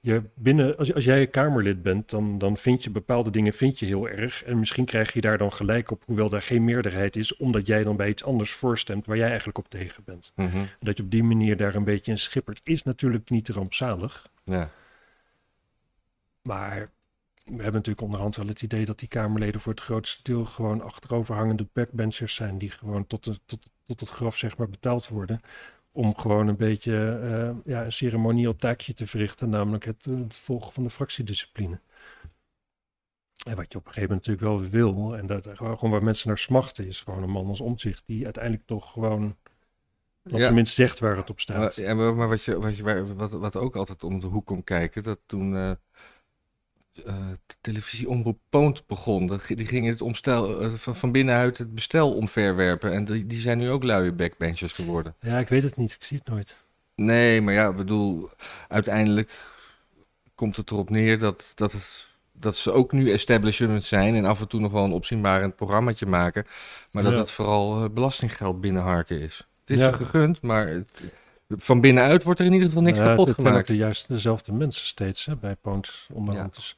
je binnen, als, als jij Kamerlid bent, dan, dan vind je bepaalde dingen vind je heel erg. En misschien krijg je daar dan gelijk op, hoewel daar geen meerderheid is, omdat jij dan bij iets anders voorstemt waar jij eigenlijk op tegen bent. Dat je op die manier daar een beetje in schippert, is natuurlijk niet rampzalig. Ja. Maar we hebben natuurlijk onderhand wel het idee dat die Kamerleden voor het grootste deel gewoon achteroverhangende backbenchers zijn. Die gewoon tot, de, tot, tot het graf zeg maar betaald worden. Om gewoon een beetje eh, ja, een ceremonieel taakje te verrichten. Namelijk het, eh, het volgen van de fractiediscipline. En wat je op een gegeven moment natuurlijk wel wil. En dat, eh, gewoon waar mensen naar smachten is gewoon een man als omzicht. Die uiteindelijk toch gewoon. Op Ja. zijn minst zegt waar het op staat. Ja, maar, maar wat, je, wat, je, waar- wat, wat ook altijd om de hoek komt kijken, dat toen eh eh, de televisie Omroep Poont begon, dat, die gingen het omstel, eh, van, van binnenuit het bestel omverwerpen. En die, die zijn nu ook luie backbenchers geworden. Ja, ik weet het niet. Ik zie het nooit. Nee, maar ja, ik bedoel, uiteindelijk komt het erop neer dat, dat, het- dat ze ook nu establishment zijn en af en toe nog wel een opzienbarend programmaatje maken. Maar dat Ja. het vooral eh, belastinggeld binnenharken is. Het is Ja. je gegund, maar het- van binnenuit wordt er in ieder geval niks Ja, kapot het zijn ook gemaakt. de juist dezelfde mensen steeds hè, bij Pound onderhand. Ja. Dus,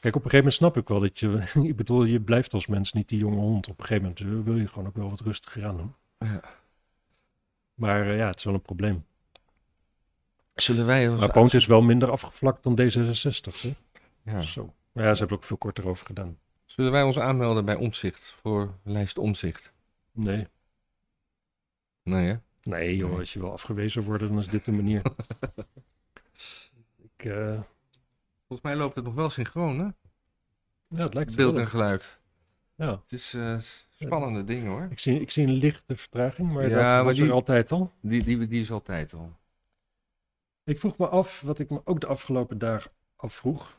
kijk, op een gegeven moment snap ik wel dat je... ik bedoel, je blijft als mens niet die jonge hond. Op een gegeven moment eh, wil je gewoon ook wel wat rustiger aan doen. Ja. Maar eh, ja, het is wel een probleem. Zullen wij ons Maar Pound is wel minder afgevlakt dan D66. Hè? ja. Zo. Maar ja, ze hebben ook veel korter over gedaan. Zullen wij ons aanmelden bij Omzicht voor lijst Omzicht? Nee. Nee, hè? Nee, joh, als je wil afgewezen worden, dan is dit de manier. ik, eh, Volgens mij loopt het nog wel synchroon, hè? ja, het lijkt er Beeld wel en op. geluid. Ja. Het is eh spannende ding, hoor. Ik zie, ik zie een lichte vertraging, maar Ja, dat maar was die- er altijd al. Die, die, die is altijd al. Ik vroeg me af, wat ik me ook de afgelopen dagen afvroeg.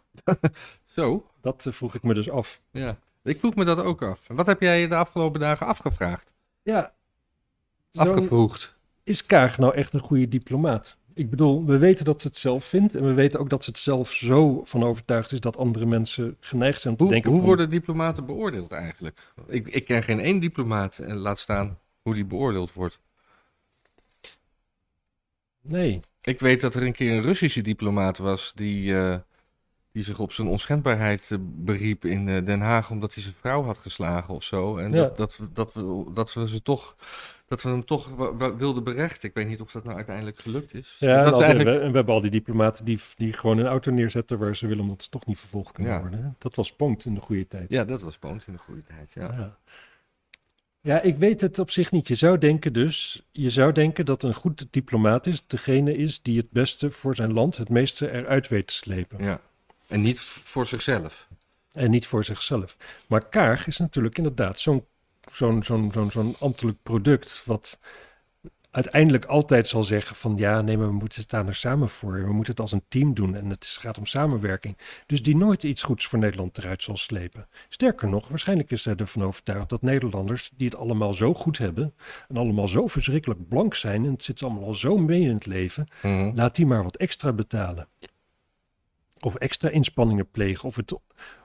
Zo? Dat eh, vroeg ik me dus af. Ja. Ik vroeg me dat ook af. Wat heb jij je de afgelopen dagen afgevraagd? Ja, zo'n- Afgevroegd. is Kaag nou echt een goede diplomaat? Ik bedoel, we weten dat ze het zelf vindt. En we weten ook dat ze het zelf zo van overtuigd is dat andere mensen geneigd zijn om te Hoe, denken... hoe van, worden diplomaten beoordeeld eigenlijk? Ik, ik ken geen één diplomaat en laat staan hoe die beoordeeld wordt. Nee, Ik weet dat er een keer een Russische diplomaat was die, eh, die zich op zijn onschendbaarheid eh, beriep in eh, Den Haag omdat hij zijn vrouw had geslagen of zo. En Ja. dat, dat, we- dat, we, dat we ze toch dat we hem toch wa- wa- wilden berechten. Ik weet niet of dat nou uiteindelijk gelukt is. ja, nou, en, dat al is die- eigenlijk... we, en we hebben al die diplomaten die, die gewoon een auto neerzetten waar ze willen... omdat ze toch niet vervolgd kunnen Ja. worden. hè? Dat was Ponkt in de goede tijd. ja, dat was Poont in de goede tijd. Ja. Ja. Ja, ik weet het op zich niet. Je zou denken dus, je zou denken dat een goed diplomaat is degene is die het beste voor zijn land het meeste eruit weet te slepen. Ja. En niet v- voor zichzelf. En niet voor zichzelf. Maar Kaag is natuurlijk inderdaad zo'n zo'n zo'n zo'n zo'n ambtelijk product wat uiteindelijk altijd zal zeggen van ja, nee, maar we moeten het daar nou samen voor. We moeten het als een team doen en het is- gaat om samenwerking. Dus die nooit iets goeds voor Nederland eruit zal slepen. Sterker nog, waarschijnlijk is hij ervan overtuigd dat Nederlanders die het allemaal zo goed hebben en allemaal zo verschrikkelijk blank zijn en het zit ze allemaal al zo mee in het leven, Mhm. Laat die maar wat extra betalen. Of extra inspanningen plegen. Of het,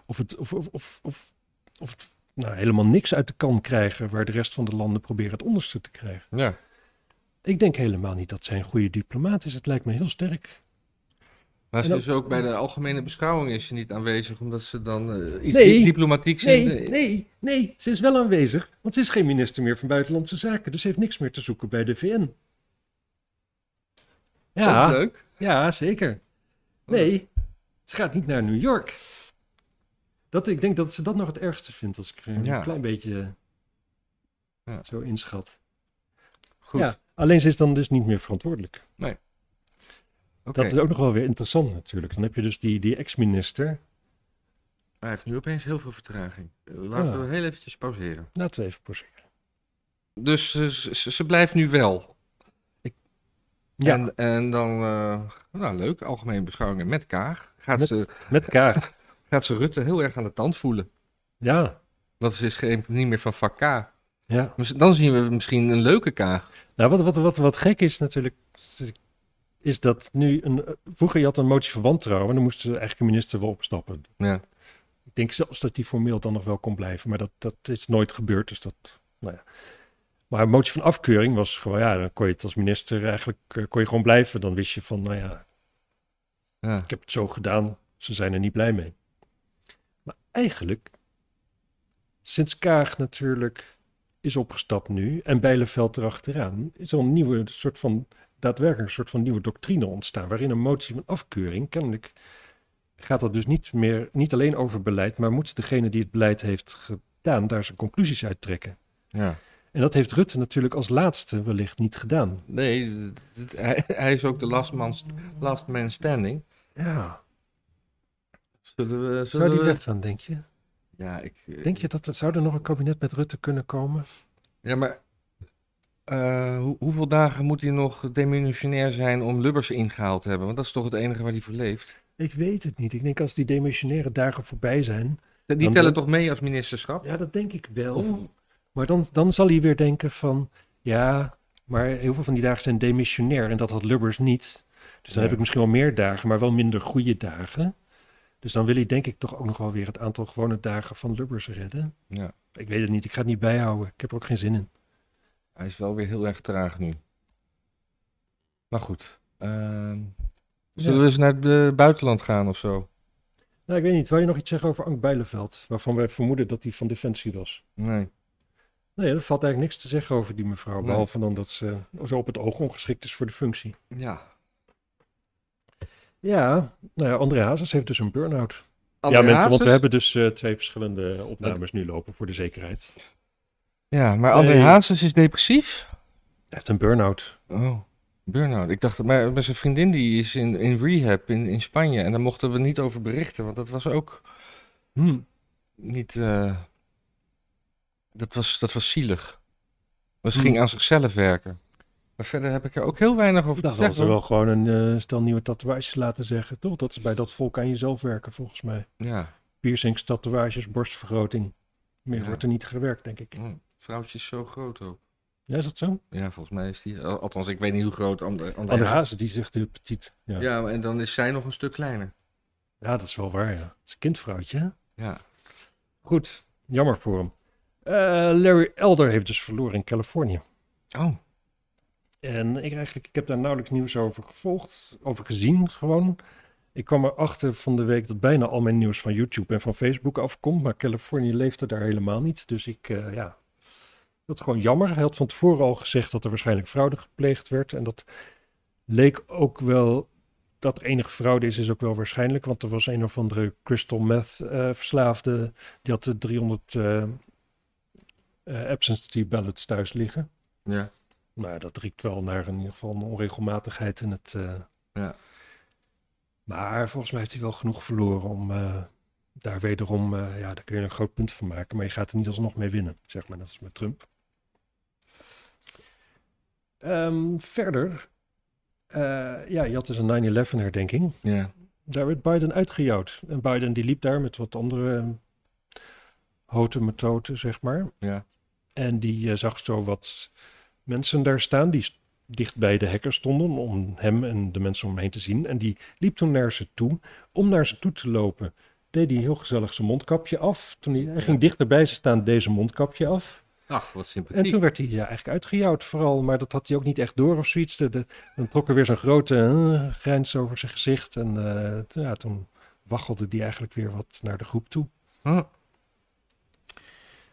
of het, of, of, of, of, of het nou, helemaal niks uit de kan krijgen. Waar de rest van de landen proberen het onderste te krijgen. Ja. Ik denk helemaal niet dat zij een goede diplomaat is. Het lijkt me heel sterk. Maar ze En is ook bij de algemene beschouwing is ze niet aanwezig, omdat ze dan eh, iets Nee. di- diplomatieks Nee, in de- nee, nee. Ze is wel aanwezig. Want ze is geen minister meer van Buitenlandse Zaken. Dus ze heeft niks meer te zoeken bij de VN. Dat is eh, Ja, leuk. ja zeker. Nee, ze gaat niet naar New York. Dat, ik denk dat ze dat nog het ergste vindt als ik er een Ja. klein beetje eh, Ja. zo inschat. Goed. Ja, alleen ze is dan dus niet meer verantwoordelijk. Oké. Dat is ook nog wel weer interessant natuurlijk. Dan heb je dus die, die ex-minister. Hij heeft nu opeens heel veel vertraging. Eh, Laten Ja. we heel eventjes pauzeren. Laten we nou, even poseren. Dus eh, ze, ze- ze blijft nu wel. Ja, En, en dan, eh, nou leuk, algemene beschouwingen met Kaag. Gaat, Met- ze, met Kaag. gaat ze Rutte heel erg aan de tand voelen. Ja, Want ze is geen, niet meer van vak K. ja. Dus Dan zien we misschien een leuke Kaag. Nou, wat, wat, wat, wat gek is natuurlijk, is dat nu een... Vroeger je had een motie van wantrouwen en dan moest de eigenlijk de minister wel opstappen. Ja. Ik denk zelfs dat die formeel dan nog wel kon blijven, maar dat, dat is nooit gebeurd. Dus dat, nou ja. Maar een motie van afkeuring was gewoon, ja, dan kon je het als minister eigenlijk, eh, kon je gewoon blijven. Dan wist je van, nou ja, ja. ik heb het zo gedaan, ze zijn er niet blij mee. Maar eigenlijk, sinds Kaag natuurlijk is opgestapt nu en Bijleveld erachteraan, is er een nieuwe soort van, daadwerkelijk een soort van nieuwe doctrine ontstaan, waarin een motie van afkeuring kennelijk gaat dat dus niet meer, niet alleen over beleid, maar moet degene die het beleid heeft gedaan daar zijn conclusies uit trekken. ja. En dat heeft Rutte natuurlijk als laatste wellicht niet gedaan. Nee, het- hij, hij is ook de last man, last man standing. Ja. Zullen we... Zullen Zou die we- weggaan, denk je? Ja, ik... eh, Denk je dat er, zou er nog een kabinet met Rutte kunnen komen? Ja, maar eh, hoe- hoeveel dagen moet hij nog demissionair zijn om Lubbers ingehaald te hebben? Want dat is toch het enige waar hij voor leeft. Ik weet het niet. Ik denk als die demissionaire dagen voorbij zijn. Die Dan- tellen toch mee als ministerschap? Ja, dat denk ik wel. Maar dan, dan zal hij weer denken van... Ja, maar heel veel van die dagen zijn demissionair. En dat had Lubbers niet. Dus dan Ja. heb ik misschien wel meer dagen, maar wel minder goede dagen. Dus dan wil hij denk ik toch ook nog wel weer het aantal gewone dagen van Lubbers redden. Ja. Ik weet het niet, ik ga het niet bijhouden. Ik heb er ook geen zin in. Hij is wel weer heel erg traag nu. Maar goed. ehm, zullen Ja. we eens naar het eh, buitenland gaan of zo? Nou, ik weet niet, wil je nog iets zeggen over Ank Bijleveld? Waarvan wij vermoeden dat hij van Defensie was. Nee. Nee, er valt eigenlijk niks te zeggen over die mevrouw. Nee. Behalve dan dat ze zo op het oog ongeschikt is voor de functie. Ja. Ja, nou ja, André Hazes heeft dus een burn-out. André ja, mensen, want Hazes? we hebben dus eh, twee verschillende opnames nu lopen voor de zekerheid. Hij Ja, maar André Nee. Hazes is depressief? heeft een burn-out. Oh, burn-out. Ik dacht, maar, maar zijn vriendin die is in, in rehab in, in Spanje. En daar mochten we niet over berichten, want dat was ook Hmm, niet... eh, dat, was, dat was zielig. Maar ze Hmm. ging aan zichzelf werken. Maar verder heb ik er ook heel weinig over Of te Nou, dat zeggen. hadden ze wel gewoon een eh, stel nieuwe tatoeages laten zeggen. Toch, dat is bij dat volk aan jezelf werken volgens mij. hoor. Ja, Piercings, tatoeages, borstvergroting. Meer Ja. wordt er niet gewerkt, denk ik. Hm, vrouwtje is zo groot ook. Ja, is dat zo? Ja, volgens mij is die... al- Althans, ik weet niet hoe groot André, André André Hazes Hazes, die zegt heel petit. Ja. is. Ja. Ja, en dan is zij nog een stuk kleiner. dat is wel waar, ja. Het is een kindvrouwtje, hè? Ja. Goed, jammer voor hem. Eh, Larry Elder heeft dus verloren in Californië. Oh, En ik, eigenlijk, ik heb daar nauwelijks nieuws over gevolgd, over gezien gewoon. Ik kwam erachter van de week dat bijna al mijn nieuws van YouTube en van Facebook afkomt. Maar Californië leefde daar helemaal niet. Dus ik, eh, ja, dat is gewoon jammer. Hij had van tevoren al gezegd dat er waarschijnlijk fraude gepleegd werd. En dat leek ook wel, dat er enige fraude is, is ook wel waarschijnlijk. Want er was een of andere crystal meth eh, verslaafde. Die had de 300 eh eh, absentee ballots thuis liggen. ja. Nou, dat riekt wel naar in ieder geval een onregelmatigheid in het. eh, Ja. Maar volgens mij heeft hij wel genoeg verloren om eh, daar wederom. eh, ja, daar kun je een groot punt van maken. Maar je gaat er niet alsnog mee winnen, zeg maar. Dat is met Trump. Ehm, verder. eh, ja, je had dus een 9-11-herdenking Ja. daar werd Biden uitgejouwd. En Biden die liep daar met wat andere eh, houten methoden, zeg maar. Ja. En die eh, zag zo wat mensen daar staan die s- dicht bij de hekken stonden om hem en de mensen om hem heen te zien. En die liep toen naar ze toe. Om naar ze toe te lopen, deed hij heel gezellig zijn mondkapje af. Toen hij, hij ging dichterbij ze staan, deed zijn mondkapje af. Ach, wat En sympathiek. toen werd hij ja, eigenlijk uitgejouwd vooral, maar dat had hij ook niet echt door of zoiets. De, de- dan trok er weer zo'n grote eh, grijns over zijn gezicht en eh, t- ja, toen waggelde hij eigenlijk weer wat naar de groep toe. Huh.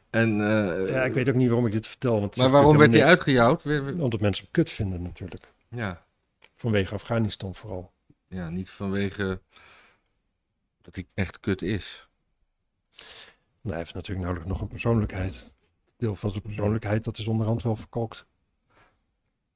En, eh, Ja, ik weet ook niet waarom ik dit vertel. Want het maar zegt waarom werd hij natuurlijk uitgejouwd? Weer- weer- helemaal niks. Omdat mensen hem kut vinden natuurlijk. Ja, Vanwege Afghanistan vooral. ja, niet vanwege dat hij echt kut is. Nou, hij heeft natuurlijk nauwelijks nog een persoonlijkheid. Deel van zijn persoonlijkheid, dat is onderhand wel verkalkt.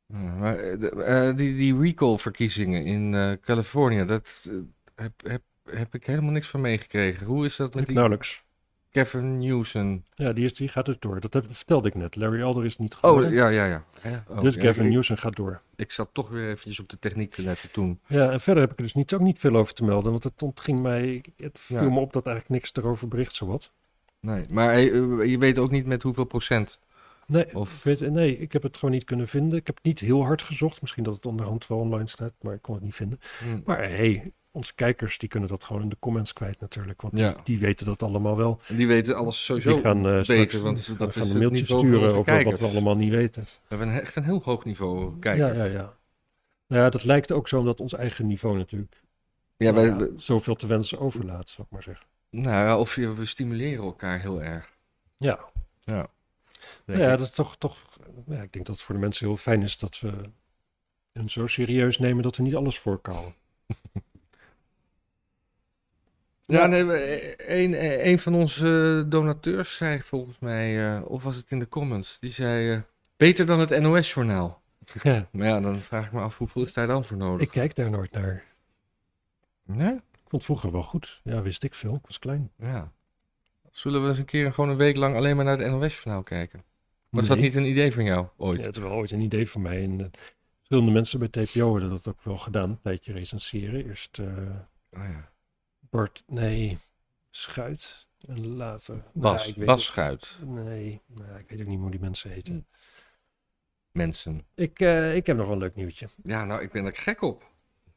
Ja, maar eh, de- eh, die, die recall-verkiezingen in eh, Californië, dat eh, heb, heb, heb ik helemaal niks van meegekregen. Hoe is dat met die Nauwelijks. Kevin Newsom? Ja, die, is, die gaat dus door. Dat heb, vertelde ik net. Larry Elder is niet geworden. Oh, ja, ja, ja. Ja, oh, dus ja, Gavin ik, Newsom gaat door. ik zat toch weer eventjes op de techniek te letten toen. Ja, en verder heb ik er dus niet, ook niet veel over te melden, want het ontging mij, het viel Ja. me op dat eigenlijk niks erover bericht, zowat. Nee, maar eh, je weet ook niet met hoeveel procent. Nee, Of- ik weet, nee, ik heb het gewoon niet kunnen vinden. Ik heb het niet heel hard gezocht, misschien dat het onderhand wel online staat, maar ik kon het niet vinden. Hm, Maar hey, onze kijkers die kunnen dat gewoon in de comments kwijt natuurlijk, want Ja. die weten dat allemaal wel. Die weten alles sowieso. die gaan eh, straks want dat gaan, is gaan een het mailtje niveau van sturen onze over kijkers. wat we allemaal niet weten. We hebben een- echt een heel hoog niveau eh, kijken. Ja, ja, ja. Nou Ja, dat lijkt ook zo omdat ons eigen niveau natuurlijk Ja, nou wij, ja, we- zoveel te wensen overlaat, zou ik maar zeggen. nou ja, of je- we stimuleren elkaar heel erg. Ja, denk ja, ik. dat is toch, toch ja, ik denk dat het voor de mensen heel fijn is dat we hun zo serieus nemen dat we niet alles voorkouwen. ja nee, we- een, een- een van onze eh, donateurs zei volgens mij, eh, of was het in de comments, die zei eh, beter dan het NOS-journaal. Ja, Maar ja, dan vraag ik me af, hoeveel is daar dan voor nodig? ik kijk daar nooit naar. Nee? Ik vond het vroeger wel goed. Ja, wist ik veel. Ik was klein. Ja. Zullen we eens een keer gewoon een week lang alleen maar naar het NOS-journaal kijken? Was dat Nee. niet een idee van jou ooit? Ja, het was wel ooit een idee van mij. En eh, verschillende mensen bij TPO hadden dat ook wel gedaan. Een tijdje recenseren. Eerst eh, Oh, ja. Bart, nee, Schuit. En later. Nou, Bas, ik weet Bas Schuit, ook- nee, nou, ik weet ook niet meer hoe die mensen heten. Hm. mensen. Ik, eh, ik heb nog wel een leuk nieuwtje. Ja, nou, ik ben er gek op.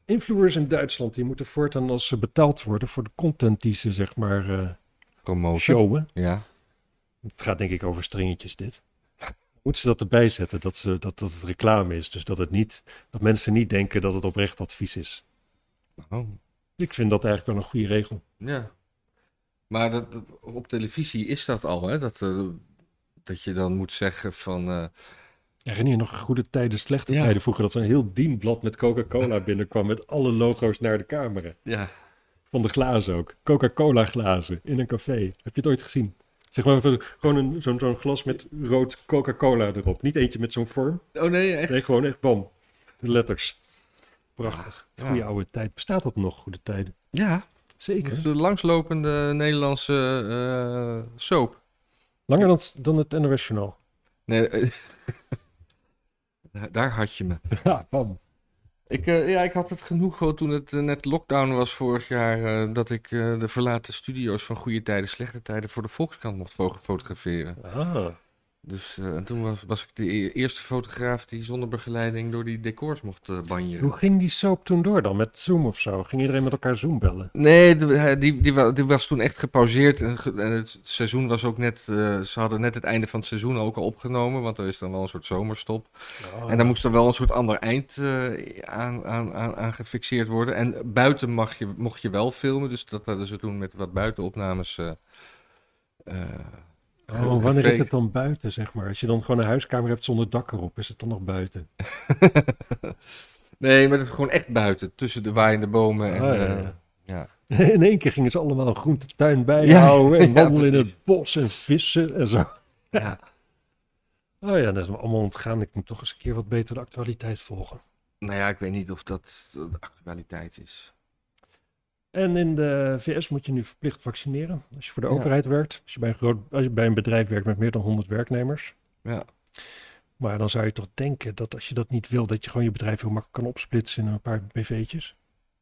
Influencers in Duitsland, die moeten voortaan als ze betaald worden voor de content die ze zeg maar eh, Promotion. showen. Ja. Het gaat denk ik over stringetjes dit. Moeten ze dat erbij zetten, dat, ze, dat, dat het reclame is. Dus dat, het niet, dat mensen niet denken dat het oprecht advies is. Oh. Ik vind dat eigenlijk wel een goede regel. Ja. Maar dat, op televisie is dat al, hè? Dat, eh, dat je dan moet zeggen van... eh, Herinner je nog goede tijden, slechte Ja. tijden vroeger... dat er een heel dienblad met Coca-Cola binnenkwam... met alle logo's naar de camera. ja. Van de glazen ook. Coca-Cola glazen in een café. Heb je het ooit gezien? Zeg maar even gewoon een- zo'n zo'n glas met rood Coca-Cola erop. Niet eentje met zo'n vorm. Oh nee, echt? Nee, gewoon echt bam. De letters. Prachtig. Ja. Goede oude tijd. Bestaat dat nog, goede tijden? Ja, dat is Zeker. de langslopende Nederlandse eh, soap. Langer dan, dan het NOS Journaal. Nee, eh, daar- daar had je me. Ja, bam. Ik, eh, ja, ik had het genoeg hoor, toen het eh, net lockdown was vorig jaar... eh, dat ik eh, de verlaten studio's van Goede Tijden, Slechte Tijden... voor de Volkskrant mocht fo- fotograferen. Ah, Dus eh, en toen was, was ik de e- eerste fotograaf... die zonder begeleiding door die decors mocht eh, banjeren. hoe ging die soap toen door dan? Met Zoom of zo? Ging iedereen met elkaar Zoom bellen? Nee, de- hij- die, die, wa- die was toen echt gepauzeerd. En, ge- en het seizoen was ook net. eh, ze hadden net het einde van het seizoen ook al opgenomen. Want er is dan wel een soort zomerstop. Oh, Ah. En daar moest dan wel een soort ander eind eh, aan, aan, aan, aan gefixeerd worden. En buiten mag je, mocht je wel filmen. Dus dat hadden ze toen met wat buitenopnames. eh, eh, Oh, wanneer is gekeken. het dan buiten, zeg maar? Als je dan gewoon een huiskamer hebt zonder dak erop, is het dan nog buiten? Nee, maar het gewoon echt buiten. Tussen de waaiende bomen. En, Ah, eh, ja, ja. ja. In één keer gingen ze allemaal een groentetuin bijhouden en ja, wandelen in precies. het bos en vissen en zo. ja. Oh ja, dat is me allemaal ontgaan. Ik moet toch eens een keer wat beter de actualiteit volgen. Nou ja, ik weet niet of dat eh, de actualiteit is. En in de VS moet je nu verplicht vaccineren. Als je voor de Ja. overheid werkt, als je, bij een groot, als je bij een bedrijf werkt met meer dan 100 werknemers. Ja. Maar dan zou je toch denken dat als je dat niet wil, dat je gewoon je bedrijf heel makkelijk kan opsplitsen in een paar bv'tjes.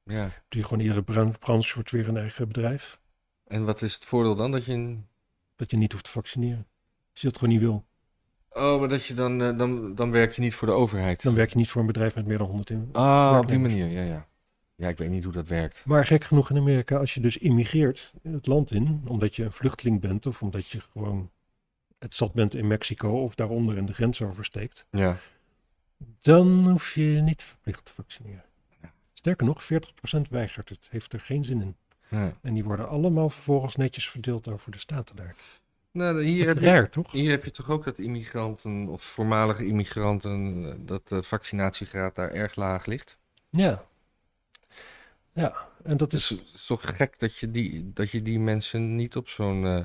Ja. Doe je gewoon iedere bran- branche wordt weer een eigen bedrijf. En wat is het voordeel dan? Dat je een Dat je niet hoeft te vaccineren. Als je dat gewoon niet wil, Oh, maar dat je dan, eh, dan, dan werk je niet voor de overheid. dan werk je niet voor een bedrijf met meer dan 100 in. Ah, op die werknemers. manier, ja, ja. Ja, ik weet niet hoe dat werkt. Maar gek genoeg in Amerika, als je dus immigreert het land in, omdat je een vluchteling bent of omdat je gewoon het stad bent in Mexico of daaronder in de grens oversteekt, Ja. dan hoef je je niet verplicht te vaccineren. Ja. Sterker nog, 40% weigert het, heeft er geen zin in. ja. En die worden allemaal vervolgens netjes verdeeld over de staten daar. Nou, hier Hier heb, dat is je, raar, toch? hier heb je toch ook dat immigranten of voormalige immigranten, eh, dat de vaccinatiegraad daar erg laag ligt. Ja. Ja, en dat Dus is... het is toch gek dat je die, dat je die mensen niet op zo'n eh,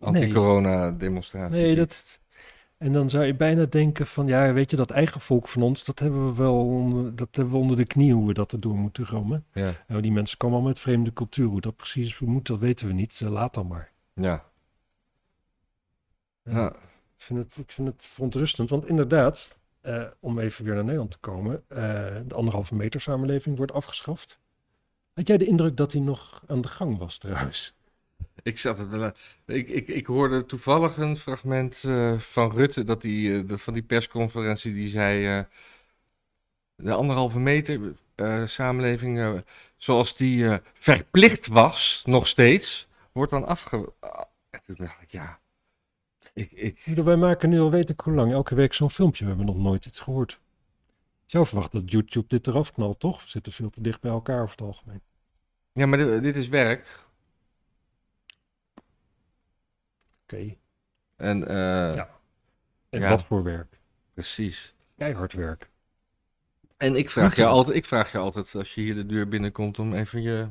anti-corona-demonstratie Nee, ziet. dat. En dan zou je bijna denken van ja, weet je, dat eigen volk van ons, dat hebben we wel onder, dat hebben we onder de knie hoe we dat erdoor moeten romen. Ja, Nou, die mensen komen allemaal met vreemde cultuur. Hoe dat precies moet, dat weten we niet. Eh, Laat dan maar. Eh, ja, ja. Ik, vind het, ik vind het verontrustend. Want inderdaad, eh, om even weer naar Nederland te komen, eh, de anderhalve meter samenleving wordt afgeschaft. Had jij de indruk dat die nog aan de gang was trouwens? Ik, zat er, wel- ik, ik, ik hoorde toevallig een fragment eh, van Rutte dat hij, eh, de- van die persconferentie die zei eh, de anderhalve meter eh, samenleving eh, zoals die eh, verplicht was nog steeds wordt dan afge. Ah, en toen dacht ik ja, ik, ik, Ik bedoel, Wij maken nu al weet ik hoe lang elke week zo'n filmpje. We hebben nog nooit iets gehoord. Ik zou verwachten dat YouTube dit eraf knalt, toch? We zitten veel te dicht bij elkaar over het algemeen. ja, maar dit, dit is werk Oké. en eh, Ja. En Ja. wat voor werk? precies. Keihard werk. En ik vraag Moeten je we- altijd, ik vraag je altijd als je hier de deur binnenkomt om even je,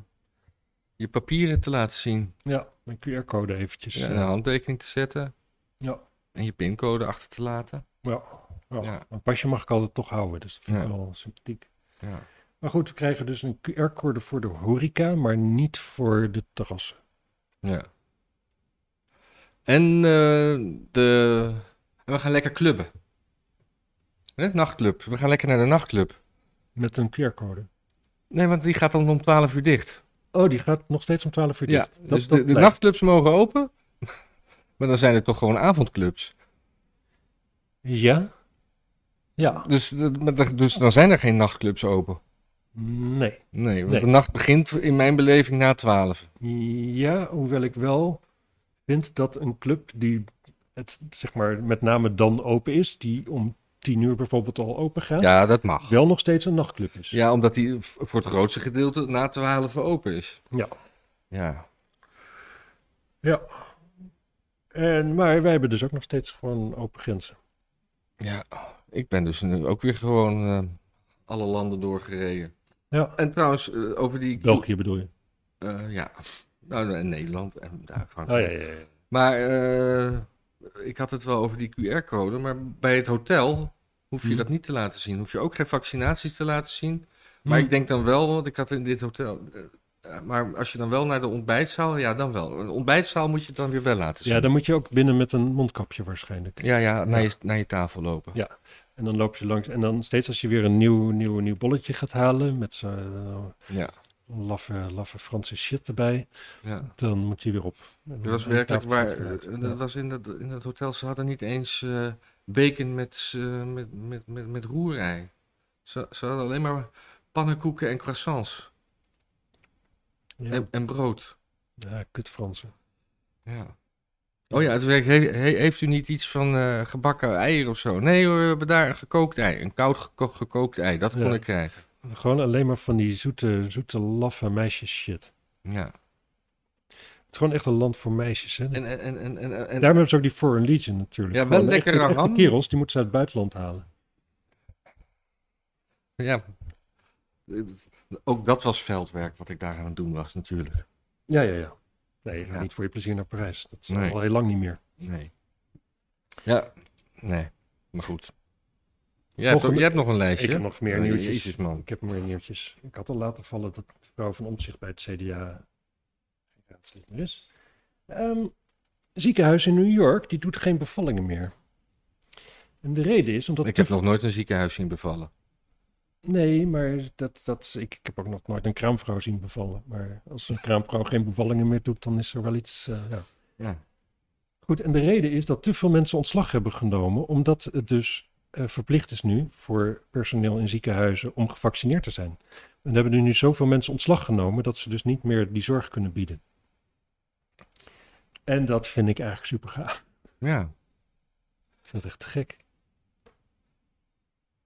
je papieren te laten zien, Ja, mijn QR-code eventjes. ja, nou. Ja, Dus een handtekening te zetten. ja. En je pincode achter te laten. ja. Ja. Mijn pasje mag ik altijd toch houden, dus dat vind ik Ja. wel sympathiek. Ja. Maar goed, we krijgen dus een QR-code voor de horeca, maar niet voor de terrassen. ja. En eh, de... en we gaan lekker clubben. Hè? Nachtclub. We gaan lekker naar de nachtclub. Met een QR-code. Nee, want die gaat dan om 12 uur dicht. Oh, die gaat nog steeds om 12 uur dicht. Ja, Dat- dus dat de, de blijft. nachtclubs mogen open. maar dan zijn er toch gewoon avondclubs. Ja? Ja. Dus, de- maar de- dus dan zijn er geen nachtclubs open. Nee. Nee, want Nee. de nacht begint in mijn beleving na 12. Ja, hoewel ik wel vind dat een club die het, zeg maar, met name dan open is, die om tien uur bijvoorbeeld al open gaat, Ja, dat mag. wel nog steeds een nachtclub is. Ja, omdat die v- voor het grootste gedeelte na 12 open is. Ja. Ja. Ja. En, maar wij hebben dus ook nog steeds gewoon open grenzen. Ja, ik ben dus nu ook weer gewoon eh, alle landen doorgereden. Ja. En trouwens, eh, over die... België bedoel je? Eh, ja, nou, en Nederland en daar Oh, Frankrijk. ja, ja, ja. Maar eh, ik had het wel over die QR-code, maar bij het hotel hoef je Hm. dat niet te laten zien. Hoef je ook geen vaccinaties te laten zien. Maar Hm. ik denk dan wel, want ik had in dit hotel... eh, maar als je dan wel naar de ontbijtzaal, ja dan wel. Een ontbijtzaal moet je het dan weer wel laten zien. Ja, dan moet je ook binnen met een mondkapje waarschijnlijk. Ja, ja, naar, Ja. Je, naar je tafel lopen. Ja. En dan loop je langs. En dan steeds als je weer een nieuw, nieuw, nieuw bolletje gaat halen met zo'n Ja. laffe, laffe Franse shit erbij, ja. dan moet je weer op. En Er was dan- werkelijk tafel waar. gaat weer uit. eh, Ja. Er was in dat, in dat hotel, ze hadden niet eens eh, bacon met, eh, met, met, met, met roerei. Ze, ze hadden alleen maar pannenkoeken en croissants Ja. en, en brood. Ja, kut Fransen. Ja. Oh ja, het werkt. He- he- heeft u niet iets van eh, gebakken eieren of zo? Nee hoor, we hebben daar een gekookt ei. Een koud geko- gekookt ei, dat kon Ja. ik krijgen. Gewoon alleen maar van die zoete, zoete laffe meisjes shit. Ja. Het is gewoon echt een land voor meisjes. Hè? En, en, en, en, en, en- Daarom hebben ze ook die Foreign Legion natuurlijk. Ja, wel Gewoon lekker echte, echte ram. kerels, die moeten ze uit het buitenland halen. ja. Ook dat was veldwerk wat ik daar aan het doen was natuurlijk. Ja, ja, ja. Nee, je gaat Ja. niet voor je plezier naar Parijs. Dat is Nee. al heel lang niet meer. Nee. Ja, nee. Maar goed. Jij, Volgende- hebt, ook- jij hebt nog een Ik lijstje. heb nog meer Oh, nieuwtjes. Jezus, man. Ik heb meer nieuwtjes. Ik had al laten vallen dat de vrouw van Omtzigt bij het CDA geen raadslid meer is. Ehm, ziekenhuis in New York, die doet geen bevallingen meer. En de reden is omdat... Ik te heb nog nooit een ziekenhuis zien bevallen. Nee, maar dat, dat, ik, ik heb ook nog nooit een kraamvrouw zien bevallen. Maar als een kraamvrouw geen bevallingen meer doet, dan is er wel iets. eh, ja. Ja. Goed, en de reden is dat te veel mensen ontslag hebben genomen, omdat het dus eh, verplicht is nu voor personeel in ziekenhuizen om gevaccineerd te zijn. En hebben er nu zoveel mensen ontslag genomen dat ze dus niet meer die zorg kunnen bieden. En dat vind ik eigenlijk super gaaf. ja. Ik vind het echt te gek.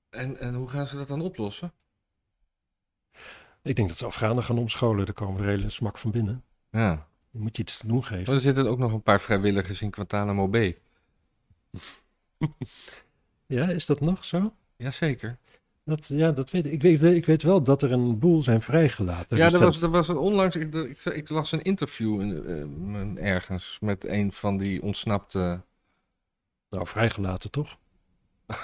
En, en hoe gaan ze dat dan oplossen? Ik denk dat ze Afghanen gaan omscholen. Daar komen er hele smak van binnen. Ja. Dan moet je iets te doen geven. Maar er zitten ook nog een paar vrijwilligers in Guantanamo Bay. Ja, is dat nog zo? Jazeker. Dat, ja, dat weet ik. Ik weet, ik weet wel dat er een boel zijn vrijgelaten. Ja, Dus er was, er was een onlangs. Ik, ik, ik las een interview in, eh, ergens met een van die ontsnapte. Nou, vrijgelaten toch? Dan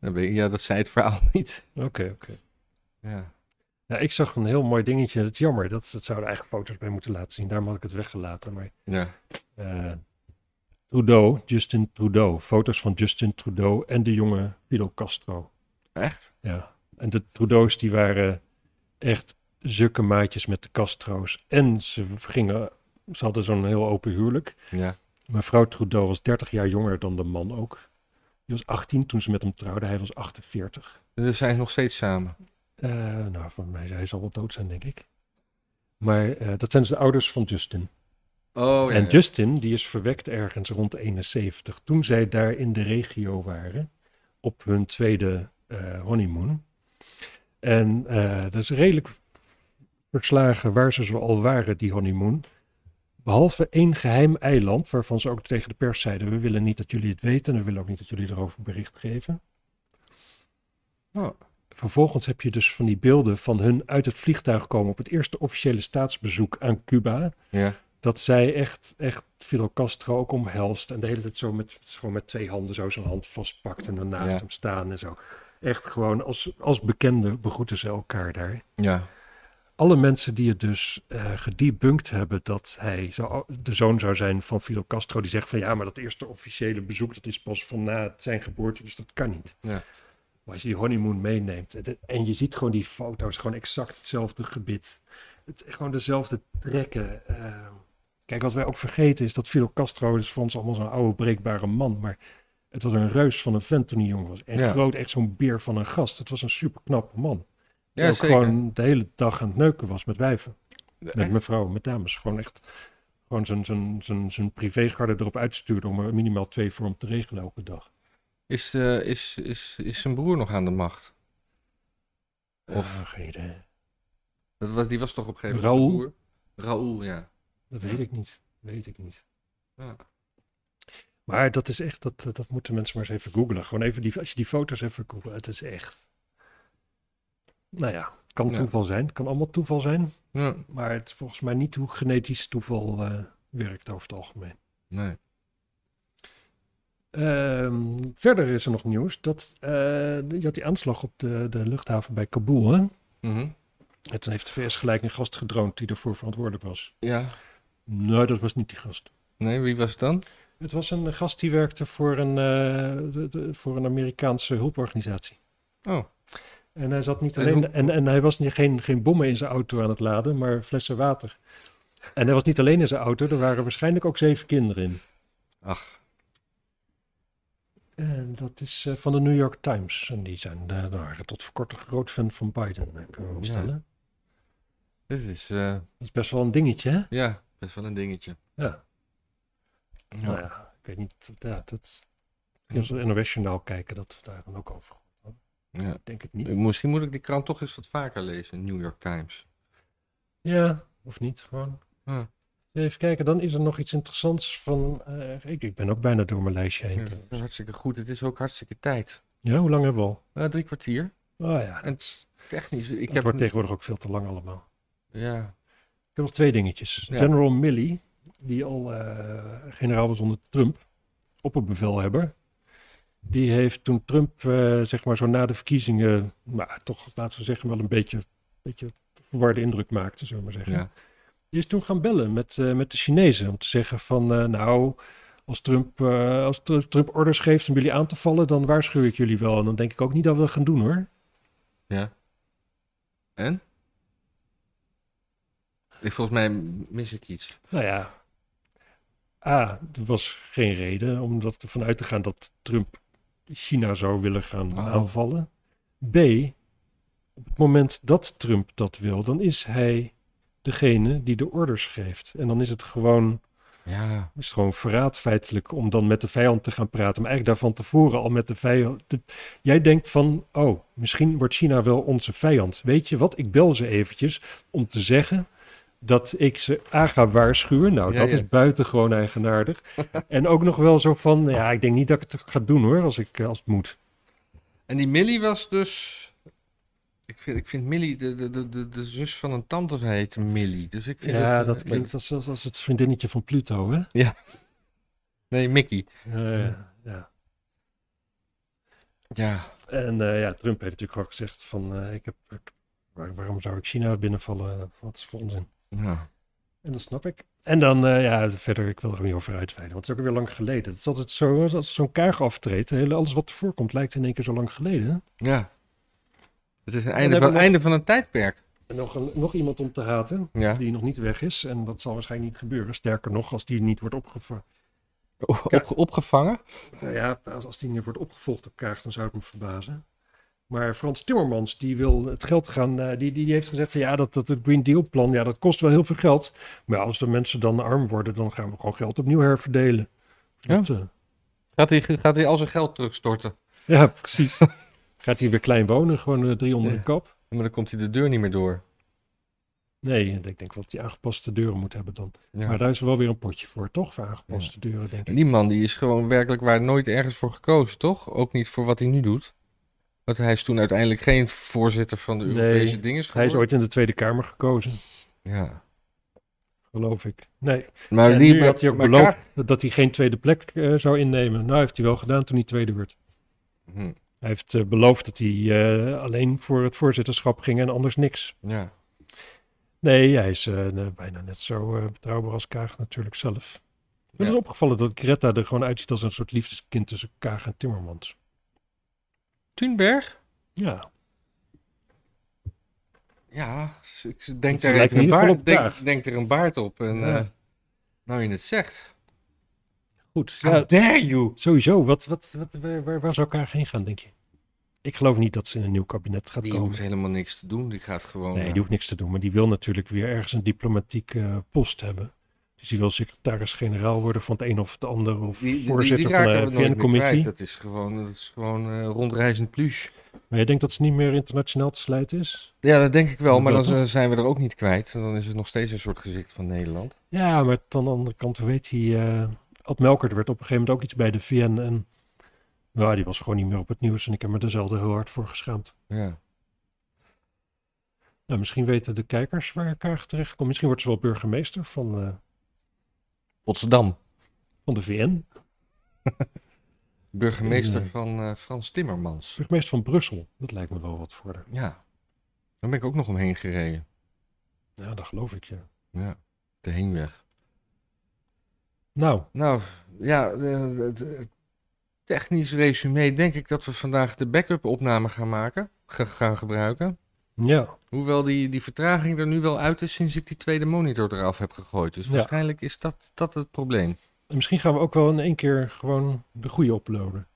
eh, weet ik- Ja, dat zei het verhaal niet. Oké, oké. Ja. Ja, ik zag een heel mooi dingetje. Het is jammer, dat, dat zouden eigen foto's bij moeten laten zien. Daarom had ik het weggelaten. Maar Ja. eh, Trudeau, Justin Trudeau. Foto's van Justin Trudeau en de jonge Fidel Castro. Echt? Ja. En de Trudeau's die waren echt zukke maatjes met de Castro's. En ze gingen, ze hadden zo'n heel open huwelijk. Ja. Mevrouw Trudeau was 30 jaar jonger dan de man ook. Die was 18 toen ze met hem trouwde. Hij was 48. Dus zijn ze nog steeds samen. Eh, nou, voor mij hij zal wel dood zijn, denk ik. Maar eh, dat zijn dus de ouders van Justin. Oh en Justin, die is verwekt ergens rond 71. Toen zij daar in de regio waren, op hun tweede eh, honeymoon. En eh, dat is redelijk verslagen waar ze zo al waren, die honeymoon. Behalve één geheim eiland, waarvan ze ook tegen de pers zeiden: We willen niet dat jullie het weten en we willen ook niet dat jullie erover bericht geven. Oh. Vervolgens heb je dus van die beelden van hun uit het vliegtuig komen op het eerste officiële staatsbezoek aan Cuba. Ja. Dat zij echt, echt Fidel Castro ook omhelst en de hele tijd zo met, gewoon met twee handen zo zijn hand vastpakt en daarnaast Ja. hem staan en zo. Echt gewoon als, als bekenden begroeten ze elkaar daar Ja. alle mensen die het dus eh gedebunkt hebben dat hij zou, de zoon zou zijn van Fidel Castro, die zegt van ja, maar dat eerste officiële bezoek, dat is pas van na zijn geboorte, dus dat kan niet. Ja. Maar als je die honeymoon meeneemt het- en je ziet gewoon die foto's, gewoon exact hetzelfde gebit, het, gewoon dezelfde trekken. eh. kijk, wat wij ook vergeten is dat Fidel Castro is voor ons allemaal zo'n oude breekbare man, maar het was een reus van een vent toen hij jong was. En Ja. groot, echt zo'n beer van een gast. Het was een superknappe man. Ja, ook gewoon de hele dag aan het neuken was met wijven. Met mevrouwen, met dames. Gewoon echt gewoon zijn, zijn, zijn, zijn privégarde erop uitstuurde om er minimaal twee voor hem te regelen elke dag. Is, eh, is, is, is zijn broer nog aan de macht? Of, Ah, geen idee. dat was, die was toch op een gegeven Raoul? moment de broer? Raoul, ja. Dat weet ik niet. Weet ik niet. Ja. Maar dat is echt, dat, dat moeten mensen maar eens even googlen. Gewoon even die, als je die foto's even googelt, het is echt. Nou ja, kan Ja. toeval zijn. Kan allemaal toeval zijn. Ja, Maar het is volgens mij niet hoe genetisch toeval eh, werkt over het algemeen. nee. Ehm, verder is er nog nieuws dat eh, je had die aanslag op de, de luchthaven bij Kabul. Hè? Mhm. En toen heeft de VS gelijk een gast gedroond die ervoor verantwoordelijk was. Ja, Nee, dat was niet die gast. nee, wie was het dan? Het was een gast die werkte voor een, eh, de- de- voor een Amerikaanse hulporganisatie. Oh, En hij zat niet En alleen. En, hoe- en, hij was niet, geen, geen bommen in zijn auto aan het laden, maar flessen water. En hij was niet alleen in zijn auto, er waren waarschijnlijk ook zeven kinderen in. ach. En dat is eh, van de New York Times. En die zijn eh, nou, waren tot voor kort een groot fan van Biden, eh, kunnen we opstellen. Dit is, eh, Dat is best wel een dingetje, hè? ja, best wel een dingetje. Ja. Nou Ja. ja, ik weet niet. Ja, dat, als we NOS-journaal kijken, dat we daar dan ook over. Ja. Ik denk het niet. Ik- Misschien moet ik die krant toch eens wat vaker lezen, New York Times. Ja, of niet, gewoon. Ja. Even kijken, dan is er nog iets interessants van... eh, ik, ik ben ook bijna door mijn lijstje heen. Ja, dat is hartstikke goed, het is ook hartstikke tijd. Ja, hoe lang hebben we al? Nou, drie kwartier. Oh ja, En het is technisch, ik het heb... wordt tegenwoordig ook veel te lang allemaal. Ja, Ik heb nog twee dingetjes. Ja. General Milley, die al eh, generaal was onder Trump, opperbevelhebber. Die heeft toen Trump, eh, zeg maar zo na de verkiezingen, nou toch laten we zeggen wel een beetje, beetje verwarde indruk maakte, zullen we maar zeggen. ja. Die is toen gaan bellen met, eh, met de Chinezen om te zeggen van eh, nou, als Trump, eh, als Tr- Trump orders geeft om jullie aan te vallen, dan waarschuw ik jullie wel. En dan denk ik ook niet dat we dat gaan doen hoor. Ja. En? Ik, volgens mij mis ik iets. Nou ja, A, er was geen reden om dat ervan uit te gaan dat Trump China zou willen gaan Oh. aanvallen. B, op het moment dat Trump dat wil, dan is hij degene die de orders geeft. En dan is het gewoon, Ja. is het gewoon verraad feitelijk om dan met de vijand te gaan praten. Maar eigenlijk daarvan tevoren al met de vijand. de- jij denkt van, oh, misschien wordt China wel onze vijand. Weet je wat, ik bel ze eventjes om te zeggen dat ik ze A ga waarschuwen. Nou, Ja, dat ja. is buitengewoon eigenaardig. en ook nog wel zo van, ja, ik denk niet dat ik het ga doen hoor, als, ik, eh, als het moet. En die Millie was dus... Ik vind, ik vind Millie, de, de, de- de, de zus van een tante heet Millie. Dus ik vind Ja, het, eh, dat klinkt als, als, als het vriendinnetje van Pluto, hè? Nee, Mickey. Eh, ja. Ja. En eh, ja, Trump heeft natuurlijk ook gezegd van, eh, ik heb, ik- waar- waarom zou ik China binnenvallen? Wat is voor onzin? ja. En dat snap ik. En dan, eh, ja, verder, ik wil er ook niet over uitweiden, want het is ook weer lang geleden. Het is altijd zo, als- als zo'n kaag aftreedt, de hele- alles wat ervoor komt lijkt in één keer zo lang geleden. Ja. Het is een hebben einde we van, nog- einde van een tijdperk. En nog, een, nog iemand om te haten, Ja. die nog niet weg is, en dat zal waarschijnlijk niet gebeuren. Sterker nog, als die niet wordt opgevangen, Opge- opgevangen. nou ja, als, als die niet wordt opgevolgd door kaag, dan zou het me verbazen. Maar Frans Timmermans, die wil het geld gaan, eh, die, die heeft gezegd van ja, dat, dat het Green Deal plan, ja, dat kost wel heel veel geld. Maar ja, als de mensen dan arm worden, dan gaan we gewoon geld opnieuw herverdelen. Ja. Dat, eh, Gaat hij, gaat hij al zijn geld terugstorten. Ja, precies. Gaat hij weer klein wonen, gewoon eh, drie onder de Ja. kap? Maar dan komt hij de deur niet meer door. Nee, ik denk wel dat hij aangepaste deuren moet hebben dan. Ja. Maar daar is wel weer een potje voor, toch? Voor aangepaste deuren, denk En ik. die man die is gewoon werkelijk waar nooit ergens voor gekozen, toch? Ook niet voor wat hij nu doet. Want hij is toen uiteindelijk geen voorzitter van de Nee, Europese dingen Hij is geworden. ooit in de Tweede Kamer gekozen, Ja. geloof ik. Nee, Maar en die nu maar- had hij ook maar beloofd Kaag- dat hij geen tweede plek eh, zou innemen. Nou, heeft hij wel gedaan toen hij tweede werd. Hm, Hij heeft eh, beloofd dat hij eh, alleen voor het voorzitterschap ging en anders niks. ja. Nee, hij is eh, nou, bijna net zo eh, betrouwbaar als Kaag natuurlijk zelf. Het is Ja. opgevallen dat Greta er gewoon uitziet als een soort liefdeskind tussen Kaag en Timmermans. Thunberg? Ja, Ja, s- ik denk Dat daar lijkt even me een in ieder baard, geval op Kaag. denk, denk er een baard op. En, Ja. eh, nou, je het zegt. goed. How Ja, dare you? sowieso, wat, wat, wat, waar, waar, waar zou Kaag heen gaan, denk je? Ik geloof niet dat ze in een nieuw kabinet gaat Die komen. hoeft helemaal niks te doen. Die gaat gewoon. Nee, eh, die hoeft niks te doen. Maar die wil natuurlijk weer ergens een diplomatieke eh, post hebben. Dus die wil secretaris-generaal worden van het een of het ander. Of die- die- die- voorzitter die van raken de we nooit meer kwijt. VN-commissie. Dat is gewoon, dat is gewoon eh, rondreizend plus. Maar je denkt dat ze niet meer internationaal te sluiten is? Ja, dat denk ik wel. Dat Maar wel, dan z- zijn we er ook niet kwijt. En Dan is het nog steeds een soort gezicht van Nederland. Ja, maar aan de andere kant, hoe weet hij... eh, Ad Melkert werd op een gegeven moment ook iets bij de VN. En nou, die was gewoon niet meer op het nieuws. En ik heb me er zelden heel hard voor geschaamd. Ja. Nou, misschien weten de kijkers waar elkaar terecht komt. Misschien wordt ze wel burgemeester van, eh, Potsdam. van de VN. Burgemeester Ja. van eh, Frans Timmermans. Burgemeester van Brussel. Dat lijkt me wel wat voor haar. Ja. Daar ben ik ook nog omheen gereden. Ja, dat geloof ik, ja. Ja. De heenweg. Nou, Nou, ja, de- de- de- technisch resume denk ik dat we vandaag de backup opname gaan maken, ge- gaan gebruiken. ja. Hoewel die, die vertraging er nu wel uit is sinds ik die tweede monitor eraf heb gegooid. Dus Ja. waarschijnlijk is dat, dat het probleem. En misschien gaan we ook wel in één keer gewoon de goede uploaden.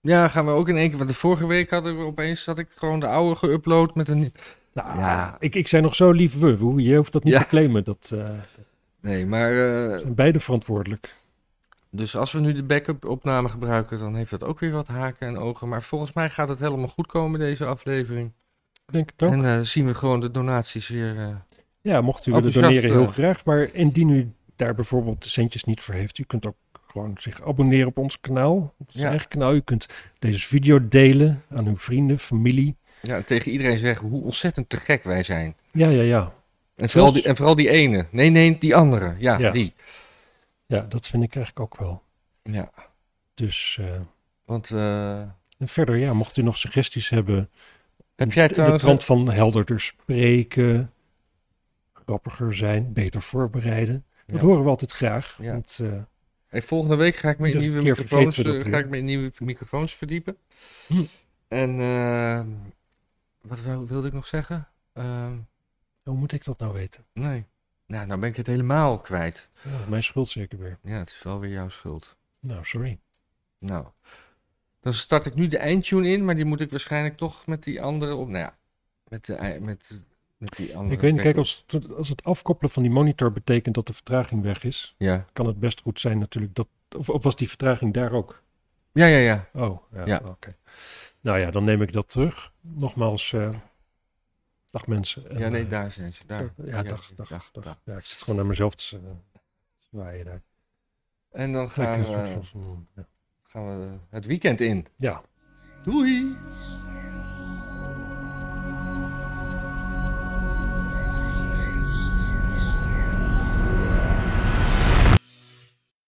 Ja, gaan we ook in één keer, want de vorige week had ik opeens dat ik gewoon de oude geüpload met een... Nou, Ja. ik, ik zei nog zo lief we. Hoe- Je hoeft dat niet Ja. te claimen. Dat eh, Nee, maar eh, zijn beide verantwoordelijk. Dus als we nu de backup opname gebruiken, dan heeft dat ook weer wat haken en ogen. Maar volgens mij gaat het helemaal goed komen deze aflevering. Ik Denk het ook. En eh, zien we gewoon de donaties weer. eh, ja, mocht u willen enthousiast, doneren, heel eh. graag. Maar indien u daar bijvoorbeeld de centjes niet voor heeft, u kunt ook gewoon zich abonneren op ons kanaal. Op ons Ja. eigen kanaal. U kunt deze video delen aan uw vrienden, familie. ja, tegen iedereen zeggen hoe ontzettend te gek wij zijn. Ja, ja, ja. En vooral, die, en vooral die ene. Nee, nee, die andere. Ja, Ja. die. Ja, dat vind ik eigenlijk ook wel. Ja, Dus eh, want eh, en verder, ja, mocht u nog suggesties hebben, heb jij de, trouwens... de trant van helderder spreken, grappiger zijn, beter voorbereiden. Dat Ja. horen we altijd graag. Ja. Want, eh, Hey, volgende week ga ik mijn Iedere nieuwe keer microfoons, vergeten we dat eh, weer. ga ik mijn nieuwe microfoons verdiepen. Hm. En eh, wat wou- wilde ik nog zeggen? Ehm, hoe moet ik dat nou weten? nee. Nou, nou ben ik het helemaal kwijt. Ja, mijn schuld zeker weer. Ja, het is wel weer jouw schuld. Nou, sorry. Nou, dan start ik nu de eindtune in, maar die moet ik waarschijnlijk toch met die andere op. Nou ja, met, de, ei- met, met die andere. ik weet niet, kijk, backup. als, het- als het afkoppelen van die monitor betekent dat de vertraging weg is, Ja, kan het best goed zijn natuurlijk dat. Of, of was die vertraging daar ook? ja, ja. ja. Oh, ja. Ja. Oké. Nou ja, dan neem ik dat terug. Nogmaals, eh, dag mensen. En, Ja, nee, eh, daar zijn ze. Daar. Ja, dag, dag, dag, Ja, ik zit gewoon naar mezelf te eh, zwaaien daar. En dan Lekker, gaan een soort we, van- ja. gaan we het weekend in. Ja. Doei!